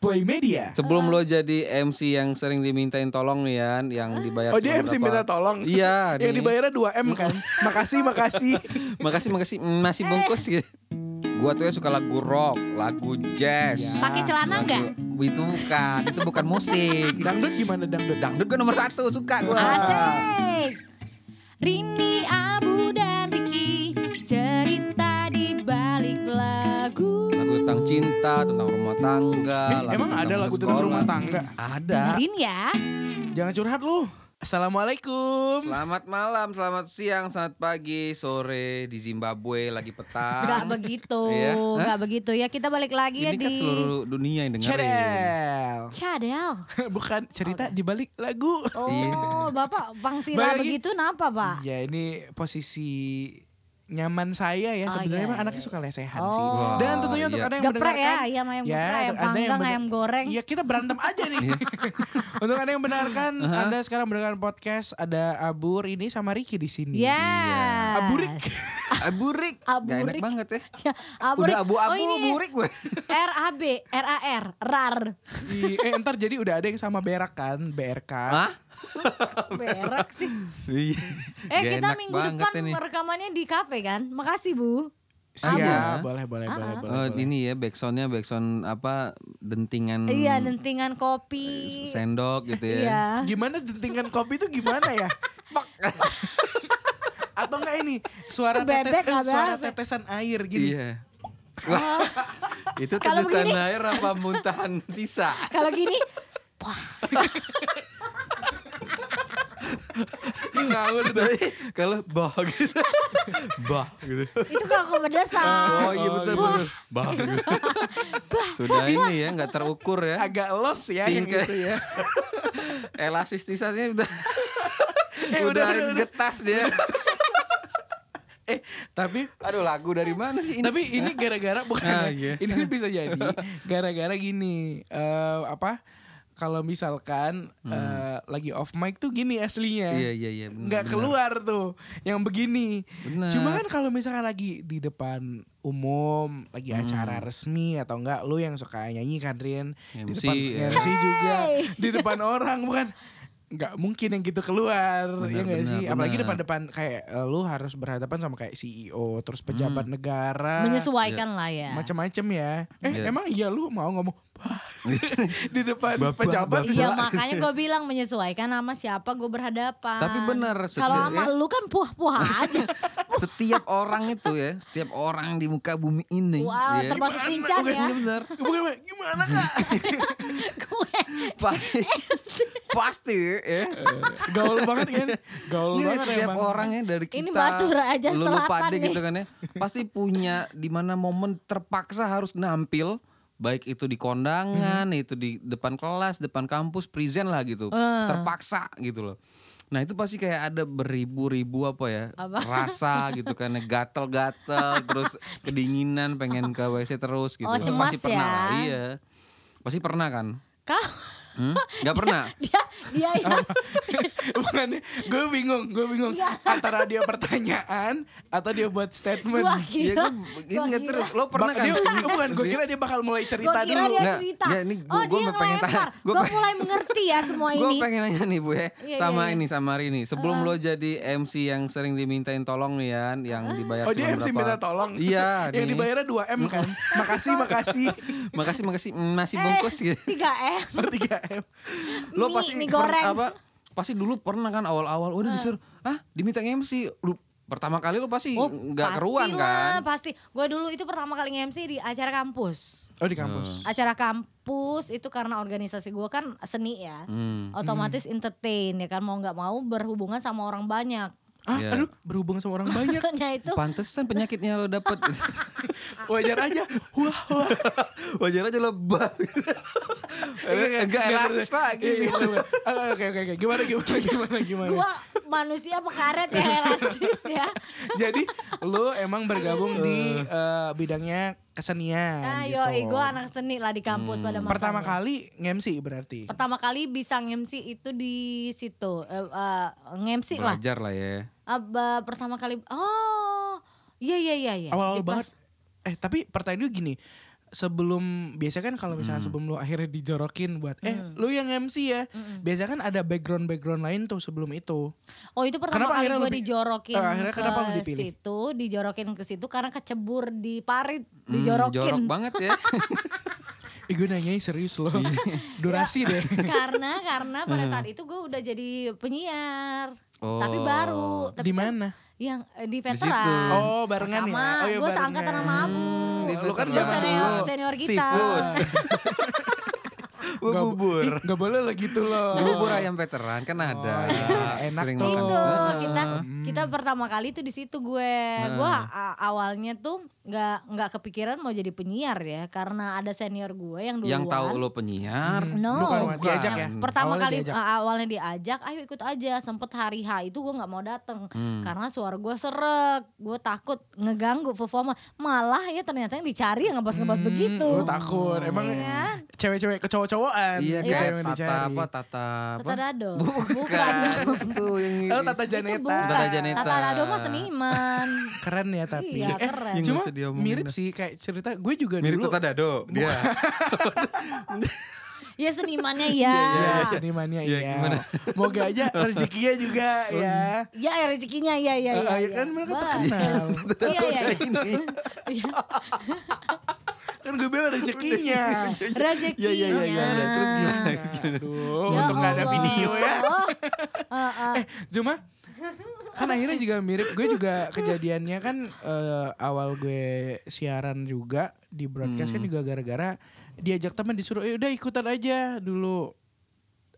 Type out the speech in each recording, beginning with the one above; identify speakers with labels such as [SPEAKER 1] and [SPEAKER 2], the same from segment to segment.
[SPEAKER 1] Play Media.
[SPEAKER 2] Sebelum lo jadi MC yang sering dimintain tolong nih Yan, yang
[SPEAKER 1] Oh
[SPEAKER 2] dibayar
[SPEAKER 1] dia
[SPEAKER 2] Iya, cuma
[SPEAKER 1] MC
[SPEAKER 2] berapa-
[SPEAKER 1] minta tolong.
[SPEAKER 2] Iya,
[SPEAKER 1] Yang
[SPEAKER 2] nih.
[SPEAKER 1] dibayarnya 2 M kan. makasih makasih.
[SPEAKER 2] Makasih makasih Mm,
[SPEAKER 1] Eh.
[SPEAKER 2] masih bungkus gitu. Gua tuh ya suka lagu rock, lagu jazz.
[SPEAKER 1] Iya.
[SPEAKER 3] Pakai celana
[SPEAKER 2] lagu-
[SPEAKER 3] nggak?
[SPEAKER 2] Itu bukan, itu bukan musik.
[SPEAKER 1] Dangdut gimana dangdut?
[SPEAKER 2] Dangdut gue nomor satu suka gue.
[SPEAKER 3] Ah. Asik. Rini, Abu dan Riki cerita di balik lagu.
[SPEAKER 2] Lagu tentang cinta, tentang rumah tangga.
[SPEAKER 1] Eh,
[SPEAKER 2] lagu
[SPEAKER 1] emang ada lagu tentang
[SPEAKER 2] sekolah.
[SPEAKER 1] rumah tangga?
[SPEAKER 2] Ada.
[SPEAKER 3] Dengerin ya.
[SPEAKER 1] Jangan curhat lu. Assalamualaikum.
[SPEAKER 2] Selamat malam, selamat siang, selamat pagi, sore di Zimbabwe lagi petang.
[SPEAKER 3] Enggak begitu,
[SPEAKER 2] Iya. Hah?
[SPEAKER 3] enggak begitu ya. Kita balik lagi
[SPEAKER 2] Ini
[SPEAKER 3] ya
[SPEAKER 2] kan
[SPEAKER 3] di
[SPEAKER 2] seluruh dunia yang dengerin.
[SPEAKER 1] Channel.
[SPEAKER 3] Cadel.
[SPEAKER 1] Bukan cerita dibalik lagu.
[SPEAKER 2] Iya.
[SPEAKER 3] Oh, Bapak Pangsila
[SPEAKER 1] Balik lagi.
[SPEAKER 3] begitu kenapa, Pak?
[SPEAKER 1] Iya ini posisi nyaman saya ya
[SPEAKER 3] Oh,
[SPEAKER 1] sebenarnya
[SPEAKER 3] iya,
[SPEAKER 1] emang
[SPEAKER 3] iya,
[SPEAKER 1] anaknya suka lesehan
[SPEAKER 3] Oh.
[SPEAKER 1] sih dan tentunya untuk
[SPEAKER 2] Iya.
[SPEAKER 1] anda yang
[SPEAKER 3] Geprek ya,
[SPEAKER 1] mendengarkan
[SPEAKER 3] ayam ayam geprek, ayam
[SPEAKER 1] untuk Anda yang
[SPEAKER 3] panggang,
[SPEAKER 1] bener-
[SPEAKER 3] ayam goreng.
[SPEAKER 1] Iya kita berantem aja nih. untuk anda yang benarkan, anda sekarang mendengarkan podcast ada Abur ini sama Riki di sini.
[SPEAKER 2] Iya.
[SPEAKER 3] Ya.
[SPEAKER 1] Aburik.
[SPEAKER 2] Aburik. Ah, Gak enak
[SPEAKER 3] Aburik.
[SPEAKER 2] banget ya.
[SPEAKER 3] Ya, aburik.
[SPEAKER 2] Udah abu-abu
[SPEAKER 3] oh, ini
[SPEAKER 2] burik gue.
[SPEAKER 3] R A B R A R RAR.
[SPEAKER 1] Di- eh ntar jadi udah ada yang sama berak kan, BRK.
[SPEAKER 2] Hah?
[SPEAKER 3] Berak sih.
[SPEAKER 2] Iya.
[SPEAKER 3] Eh,
[SPEAKER 2] Gak
[SPEAKER 3] kita
[SPEAKER 2] enak
[SPEAKER 3] minggu
[SPEAKER 2] banget
[SPEAKER 3] depan
[SPEAKER 2] ini.
[SPEAKER 3] rekamannya di kafe kan? Makasih, Bu.
[SPEAKER 1] Siap,
[SPEAKER 2] Abur.
[SPEAKER 1] boleh boleh boleh
[SPEAKER 3] Ah, ah.
[SPEAKER 1] boleh.
[SPEAKER 2] iya. Oh,
[SPEAKER 1] boleh.
[SPEAKER 2] ini ya backsoundnya backsound apa dentingan
[SPEAKER 3] Iya, dentingan kopi.
[SPEAKER 2] sendok gitu Hmm. ya.
[SPEAKER 3] Iya.
[SPEAKER 1] Gimana dentingan kopi itu gimana ya? Pak. Atau enggak ini suara tetes,
[SPEAKER 3] Bebek nggak
[SPEAKER 1] suara
[SPEAKER 3] apa-apa.
[SPEAKER 1] tetesan air gini.
[SPEAKER 2] Iya. Wah, itu
[SPEAKER 3] Oh. Kalau
[SPEAKER 2] tetesan
[SPEAKER 3] begini-
[SPEAKER 2] air apa muntahan sisa?
[SPEAKER 3] Kalau gini
[SPEAKER 2] Ngawur Kalau bah gitu. Bah gitu.
[SPEAKER 3] itu kalau kepedesan.
[SPEAKER 2] Oh iya betul
[SPEAKER 1] gitu.
[SPEAKER 2] betul. Bah gitu. Sudah ini ya nggak terukur ya.
[SPEAKER 1] Agak los ya yang
[SPEAKER 2] Tingkat-
[SPEAKER 1] gitu ya.
[SPEAKER 2] Elastisasinya udah
[SPEAKER 1] Eh, udah,
[SPEAKER 2] udah,
[SPEAKER 1] udah, udah.
[SPEAKER 2] getas dia.
[SPEAKER 1] Eh, tapi
[SPEAKER 2] Aduh lagu dari mana sih ini?
[SPEAKER 1] Tapi ini gara-gara bukan
[SPEAKER 2] Ah,
[SPEAKER 1] ya.
[SPEAKER 2] iya.
[SPEAKER 1] ini bisa jadi gara-gara gini eh, apa kalau misalkan eh, lagi off mic tuh gini aslinya.
[SPEAKER 2] Iya iya iya. benar,
[SPEAKER 1] nggak
[SPEAKER 2] benar.
[SPEAKER 1] keluar tuh yang begini.
[SPEAKER 2] Benar.
[SPEAKER 1] Cuma kan kalau misalkan lagi di depan umum, lagi
[SPEAKER 2] Hmm.
[SPEAKER 1] acara resmi atau enggak lu yang suka nyanyi kan Rian di
[SPEAKER 2] MC,
[SPEAKER 1] depan
[SPEAKER 2] ya.
[SPEAKER 1] MC juga di depan orang bukan nggak mungkin yang gitu keluar ya
[SPEAKER 2] Benar,
[SPEAKER 1] nggak
[SPEAKER 2] benar,
[SPEAKER 1] sih apalagi
[SPEAKER 2] benar.
[SPEAKER 1] depan-depan kayak eh, lu harus berhadapan sama kayak CEO terus
[SPEAKER 2] Hmm.
[SPEAKER 1] pejabat negara
[SPEAKER 3] Menyesuaikan lah ya.
[SPEAKER 1] macam-macam ya eh
[SPEAKER 2] Iya.
[SPEAKER 1] emang iya lu mau ngomong "Bah," di depan pejabat
[SPEAKER 3] Iya makanya gue bilang menyesuaikan sama siapa gue berhadapan.
[SPEAKER 2] Tapi bener,
[SPEAKER 3] Kalau
[SPEAKER 2] setia-
[SPEAKER 3] sama
[SPEAKER 2] ya.
[SPEAKER 3] lu kan puah-puah aja.
[SPEAKER 2] Setiap orang itu ya, setiap orang di muka bumi ini.
[SPEAKER 3] Wow,
[SPEAKER 2] ya,
[SPEAKER 3] termasuk Sinchan
[SPEAKER 2] Iya
[SPEAKER 3] ya.
[SPEAKER 2] benar.
[SPEAKER 1] Bukan, bukan, gimana kak
[SPEAKER 3] Gue
[SPEAKER 2] Pasti. Pasti ya.
[SPEAKER 1] gaul banget kan gaul
[SPEAKER 2] Ini
[SPEAKER 1] banget
[SPEAKER 2] Iya, setiap
[SPEAKER 1] emang.
[SPEAKER 2] orangnya dari kita.
[SPEAKER 3] Ini batu raja
[SPEAKER 2] lu- lu
[SPEAKER 3] selatan
[SPEAKER 2] pade
[SPEAKER 3] nih.
[SPEAKER 2] gitu kan ya. Pasti punya di mana momen terpaksa harus nampil baik itu di kondangan,
[SPEAKER 3] Hmm.
[SPEAKER 2] itu di depan kelas, depan kampus, present lah gitu.
[SPEAKER 3] Eh.
[SPEAKER 2] Terpaksa gitu loh. Nah itu pasti kayak ada beribu-ribu apa ya
[SPEAKER 3] Apa?
[SPEAKER 2] rasa gitu kan ya. gatel-gatel terus kedinginan pengen ke WC terus gitu
[SPEAKER 3] Oh,
[SPEAKER 2] Itu
[SPEAKER 3] cemas
[SPEAKER 2] pasti pernah
[SPEAKER 3] ya.
[SPEAKER 2] lah, iya pasti pernah kan
[SPEAKER 3] kau
[SPEAKER 2] hmm? nggak pernah
[SPEAKER 3] dia
[SPEAKER 2] Oh,
[SPEAKER 3] dia ya. yang
[SPEAKER 1] Bukan, gue bingung, gue bingung antara dia pertanyaan atau dia buat statement.
[SPEAKER 3] gua
[SPEAKER 2] Iya,
[SPEAKER 3] kira.
[SPEAKER 2] gua-
[SPEAKER 3] Gua
[SPEAKER 2] ingat
[SPEAKER 3] kira.
[SPEAKER 2] terus lo pernah
[SPEAKER 1] Bak-
[SPEAKER 2] kan
[SPEAKER 1] dia- bukan, gue kira dia bakal mulai
[SPEAKER 3] Gue
[SPEAKER 1] cerita dulu.
[SPEAKER 3] kira dia
[SPEAKER 2] Nggak,
[SPEAKER 3] cerita.
[SPEAKER 2] nggak, Nah, ya, ini gua-
[SPEAKER 3] oh
[SPEAKER 2] gua
[SPEAKER 3] dia
[SPEAKER 2] mau pengen
[SPEAKER 3] ngelempar.
[SPEAKER 2] tanya. Gua
[SPEAKER 3] Gue
[SPEAKER 2] pengen-
[SPEAKER 3] mulai mengerti ya semua
[SPEAKER 2] Gue
[SPEAKER 3] ini.
[SPEAKER 2] pengen nanya nih Bu ya, sama
[SPEAKER 3] Iya, iya, Ah. iya.
[SPEAKER 2] ini sama Rini. Sebelum lo jadi MC yang sering dimintain tolong nih Yan, yang
[SPEAKER 3] Ah.
[SPEAKER 2] dibayar
[SPEAKER 1] Oh
[SPEAKER 2] cuma
[SPEAKER 1] dia MC
[SPEAKER 2] berapa?
[SPEAKER 1] minta tolong.
[SPEAKER 2] Iya.
[SPEAKER 1] Yang
[SPEAKER 2] nih.
[SPEAKER 1] dibayarnya 2 m kan. makasih, makasih.
[SPEAKER 2] Makasih makasih Mm, nasi
[SPEAKER 3] Eh,
[SPEAKER 2] bungkus gitu.
[SPEAKER 3] 3 M.
[SPEAKER 1] Oh, 3 m.
[SPEAKER 2] Lo
[SPEAKER 3] mie-
[SPEAKER 2] pasti
[SPEAKER 3] mie
[SPEAKER 2] per-
[SPEAKER 3] goreng.
[SPEAKER 2] apa? Pasti dulu pernah kan awal-awal udah disuruh, ah diminta MC. Lu pertama kali lo pasti Oh,
[SPEAKER 3] Oh,
[SPEAKER 2] nggak keruan
[SPEAKER 3] pastilah,
[SPEAKER 2] kan?
[SPEAKER 3] Pasti. Gue dulu itu pertama kali nge-MC di acara kampus.
[SPEAKER 1] Oh di kampus.
[SPEAKER 3] acara kampus itu karena organisasi gue kan seni ya
[SPEAKER 2] Hmm.
[SPEAKER 3] otomatis entertain ya kan mau nggak mau berhubungan sama orang banyak
[SPEAKER 1] Ah,
[SPEAKER 2] Iya.
[SPEAKER 1] aduh berhubungan sama orang banyak.
[SPEAKER 3] maksudnya itu
[SPEAKER 2] Pantesan penyakitnya lo dapet
[SPEAKER 1] Wajar aja. Wah, wah.
[SPEAKER 2] Wajar aja lo bah
[SPEAKER 1] Eh,
[SPEAKER 2] Enggak elastis gitu.
[SPEAKER 1] Iya,
[SPEAKER 2] lagi
[SPEAKER 1] iya, iya. Ah, Oke, oke, oke. Gimana, gimana, gimana, gimana.
[SPEAKER 3] gue manusia pekaret ya elastis ya
[SPEAKER 1] Jadi lu emang bergabung di eh, bidangnya kesenian
[SPEAKER 3] nah
[SPEAKER 1] gitu. Hmm.
[SPEAKER 3] yoi gue anak seni lah di kampus pada masa
[SPEAKER 1] Pertama kali nge-MC berarti.
[SPEAKER 3] pertama kali bisa nge-MC itu di situ eh, eh, nge-MC lah
[SPEAKER 2] Belajar lah ya
[SPEAKER 3] Ab- eh, pertama kali oh iya iya iya iya
[SPEAKER 1] Awal-awal
[SPEAKER 3] Di pas-
[SPEAKER 1] banget. Eh tapi pertanyaan gue gini, sebelum biasanya kan kalau misalnya
[SPEAKER 2] Hmm.
[SPEAKER 1] sebelum lu akhirnya dijorokin buat eh
[SPEAKER 3] Hmm.
[SPEAKER 1] lu yang MC ya biasanya kan ada background background lain tuh sebelum itu
[SPEAKER 3] Oh itu pertama
[SPEAKER 1] Kenapa
[SPEAKER 3] kali
[SPEAKER 1] akhirnya lu
[SPEAKER 3] gue
[SPEAKER 1] pi-
[SPEAKER 3] dijorokin
[SPEAKER 1] Eh, akhirnya
[SPEAKER 3] ke
[SPEAKER 1] kenapa lu dipilih?
[SPEAKER 3] situ, dijorokin ke situ karena kecebur di parit,
[SPEAKER 2] Hmm, jorok
[SPEAKER 3] dijorokin.
[SPEAKER 2] banget ya.
[SPEAKER 1] Ih gue nanyain serius loh
[SPEAKER 2] Iya.
[SPEAKER 1] durasi
[SPEAKER 3] Iya.
[SPEAKER 1] deh
[SPEAKER 3] karena karena pada saat itu gue udah jadi penyiar, tapi
[SPEAKER 2] Eh. Oh.
[SPEAKER 3] baru. Tapi
[SPEAKER 1] di
[SPEAKER 3] kan
[SPEAKER 1] mana
[SPEAKER 3] Yang eh, di
[SPEAKER 2] situ.
[SPEAKER 3] veteran.
[SPEAKER 1] Oh, barengan
[SPEAKER 3] sama,
[SPEAKER 1] ya? Oh, iya,
[SPEAKER 3] gue
[SPEAKER 1] barengan.
[SPEAKER 3] seangkatan sama Abu.
[SPEAKER 2] di
[SPEAKER 1] lu kan
[SPEAKER 2] veteran.
[SPEAKER 3] Dia
[SPEAKER 1] jangan
[SPEAKER 3] senior,
[SPEAKER 1] dulu.
[SPEAKER 3] senior kita.
[SPEAKER 1] Seafood.
[SPEAKER 2] Wah
[SPEAKER 1] Nggak-
[SPEAKER 2] bubur.
[SPEAKER 1] Ih, nggak boleh lah gitu loh
[SPEAKER 2] Bubur ayam veteran kan ada.
[SPEAKER 1] Oh, iya, enak
[SPEAKER 2] Sering
[SPEAKER 1] tuh.
[SPEAKER 2] makan.
[SPEAKER 3] Itu
[SPEAKER 1] Ah.
[SPEAKER 3] kita kita pertama kali tuh di situ gue.
[SPEAKER 2] Hmm.
[SPEAKER 3] Gue a- awalnya tuh nggak nggak kepikiran mau jadi penyiar ya karena ada senior gue yang duluan.
[SPEAKER 2] Yang tahu lo penyiar.
[SPEAKER 3] ya. Hmm, No,
[SPEAKER 1] Bukan, bukan. diajak ya
[SPEAKER 2] Yang
[SPEAKER 3] Iya. Pertama
[SPEAKER 1] Awalnya
[SPEAKER 3] kali
[SPEAKER 1] diajak.
[SPEAKER 3] uh, awalnya diajak, ayo ikut aja. Sempet hari H itu gue nggak mau dateng
[SPEAKER 2] Hmm.
[SPEAKER 3] karena suara gue serek, gue takut ngeganggu performa. Malah ya ternyata yang dicari yang ngebas-ngebas begitu.
[SPEAKER 1] Lu Hmm, takut emang
[SPEAKER 3] Iya.
[SPEAKER 1] cewek-cewek kecowok-cowokan
[SPEAKER 2] Iya
[SPEAKER 1] gitu
[SPEAKER 2] kayak
[SPEAKER 1] yang
[SPEAKER 2] tata
[SPEAKER 1] dicari.
[SPEAKER 2] apa tata apa?
[SPEAKER 3] Tata Dado.
[SPEAKER 2] Bukan.
[SPEAKER 3] Bukan.
[SPEAKER 2] Itu yang
[SPEAKER 1] Oh, tata
[SPEAKER 3] Itu
[SPEAKER 1] Janeta.
[SPEAKER 3] bukan.
[SPEAKER 2] Tata Janeta.
[SPEAKER 3] Tata Dado mah seniman.
[SPEAKER 1] Keren ya tapi.
[SPEAKER 3] Iya,
[SPEAKER 1] Eh,
[SPEAKER 3] keren.
[SPEAKER 2] Yang
[SPEAKER 1] Cuma
[SPEAKER 2] gak usah diomongin
[SPEAKER 1] mirip
[SPEAKER 2] dah.
[SPEAKER 1] sih kayak cerita gue juga
[SPEAKER 2] mirip
[SPEAKER 1] dulu.
[SPEAKER 2] tata dado dia.
[SPEAKER 3] ya senimannya ya.
[SPEAKER 1] Iya, senimannya
[SPEAKER 2] Iya,
[SPEAKER 1] iya.
[SPEAKER 2] gimana? Oh, iya.
[SPEAKER 1] Moga aja rezekinya juga ya.
[SPEAKER 3] Ya ya, rezekinya ya ya
[SPEAKER 1] Eh,
[SPEAKER 3] ya.
[SPEAKER 1] eh, kan mereka
[SPEAKER 3] Wah.
[SPEAKER 1] terkenal.
[SPEAKER 3] Iya iya.
[SPEAKER 2] Ini.
[SPEAKER 3] iya.
[SPEAKER 1] Kan gue bilang rezekinya.
[SPEAKER 3] Rezekinya.
[SPEAKER 2] Iya, iya, iya, iya, ada. Terus gimana?
[SPEAKER 1] Aduh,
[SPEAKER 3] Ya
[SPEAKER 1] Oh, untuk gak ada
[SPEAKER 3] Allah.
[SPEAKER 1] video ya.
[SPEAKER 3] Oh, eh, eh.
[SPEAKER 1] Cuma kan akhirnya juga mirip gue juga kejadiannya kan eh, awal gue siaran juga di broadcast kan
[SPEAKER 2] Hmm.
[SPEAKER 1] juga gara-gara diajak teman disuruh eh udah ikutan aja dulu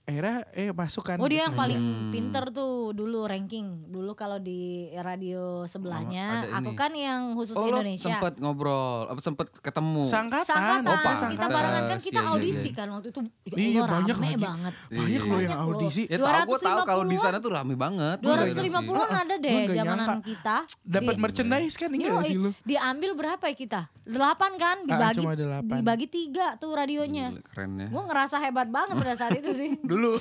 [SPEAKER 1] akhirnya eh masuk kan
[SPEAKER 3] Oh dia yang
[SPEAKER 1] Bismillah.
[SPEAKER 3] paling pinter tuh dulu ranking dulu kalau di radio
[SPEAKER 2] Oh,
[SPEAKER 3] sebelahnya
[SPEAKER 2] ada
[SPEAKER 3] aku
[SPEAKER 2] ini.
[SPEAKER 3] kan yang khusus
[SPEAKER 2] Oh, lo
[SPEAKER 3] Indonesia.
[SPEAKER 2] sempet ngobrol, apa sempet ketemu.
[SPEAKER 1] sangkatan
[SPEAKER 3] Sangkatan,
[SPEAKER 2] Oh, pas
[SPEAKER 3] kita
[SPEAKER 2] sangkatan.
[SPEAKER 3] barengan kan kita
[SPEAKER 2] Iya, iya, iya.
[SPEAKER 3] audisi kan waktu itu ya
[SPEAKER 1] Iya,
[SPEAKER 3] Allah,
[SPEAKER 1] banyak
[SPEAKER 3] rame
[SPEAKER 1] lagi.
[SPEAKER 3] banget.
[SPEAKER 1] banyak
[SPEAKER 2] Iya,
[SPEAKER 1] loh
[SPEAKER 2] iya.
[SPEAKER 1] yang
[SPEAKER 3] Banyak loh.
[SPEAKER 1] audisi
[SPEAKER 2] Ya tahu gue tahu kalau di sana tuh rame banget. Gua nggak ngerti.
[SPEAKER 3] 250-an ada deh
[SPEAKER 1] Gua nggak
[SPEAKER 3] zamanan
[SPEAKER 1] nyangka.
[SPEAKER 3] kita.
[SPEAKER 1] dapat
[SPEAKER 3] Di-
[SPEAKER 1] merchandise kan enggak
[SPEAKER 3] Yoi,
[SPEAKER 1] sih lu
[SPEAKER 3] Diambil berapa ya kita? 8 kan dibagi
[SPEAKER 1] cuma delapan.
[SPEAKER 3] dibagi 3 tuh radionya.
[SPEAKER 2] Gila, Keren ya.
[SPEAKER 3] Gue ngerasa hebat banget pada saat itu sih.
[SPEAKER 1] dulu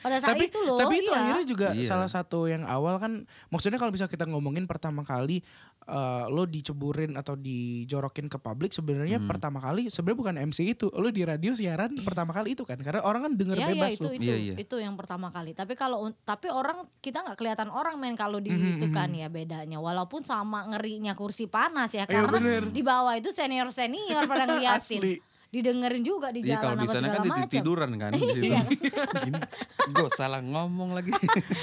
[SPEAKER 3] Pada saat
[SPEAKER 1] tapi
[SPEAKER 3] itu loh.
[SPEAKER 1] tapi itu
[SPEAKER 3] iya.
[SPEAKER 1] akhirnya juga
[SPEAKER 2] Iya.
[SPEAKER 1] salah satu yang awal kan maksudnya kalau bisa kita ngomongin pertama kali eh, lo diceburin atau dijorokin ke publik sebenarnya pertama kali sebenarnya bukan MC itu lo di radio siaran pertama kali itu kan karena orang kan denger
[SPEAKER 3] Iya iya
[SPEAKER 1] bebas
[SPEAKER 3] itu
[SPEAKER 1] lo
[SPEAKER 3] itu
[SPEAKER 2] Iya, iya.
[SPEAKER 3] itu yang pertama kali. Tapi kalau un- tapi orang kita nggak kelihatan orang main kalau di itu kan ya bedanya. Walaupun sama ngerinya kursi panas ya
[SPEAKER 1] Iya,
[SPEAKER 3] karena
[SPEAKER 1] bener.
[SPEAKER 3] di bawah itu senior senior pada ngeliatin.
[SPEAKER 1] Asli.
[SPEAKER 3] Didengerin juga di
[SPEAKER 2] Iya kalau
[SPEAKER 3] jalan
[SPEAKER 2] di
[SPEAKER 3] apa
[SPEAKER 2] sana
[SPEAKER 3] segala Iya.
[SPEAKER 2] kan dia
[SPEAKER 3] macam.
[SPEAKER 2] tiduran kan. di situ. Gini, gue salah ngomong lagi.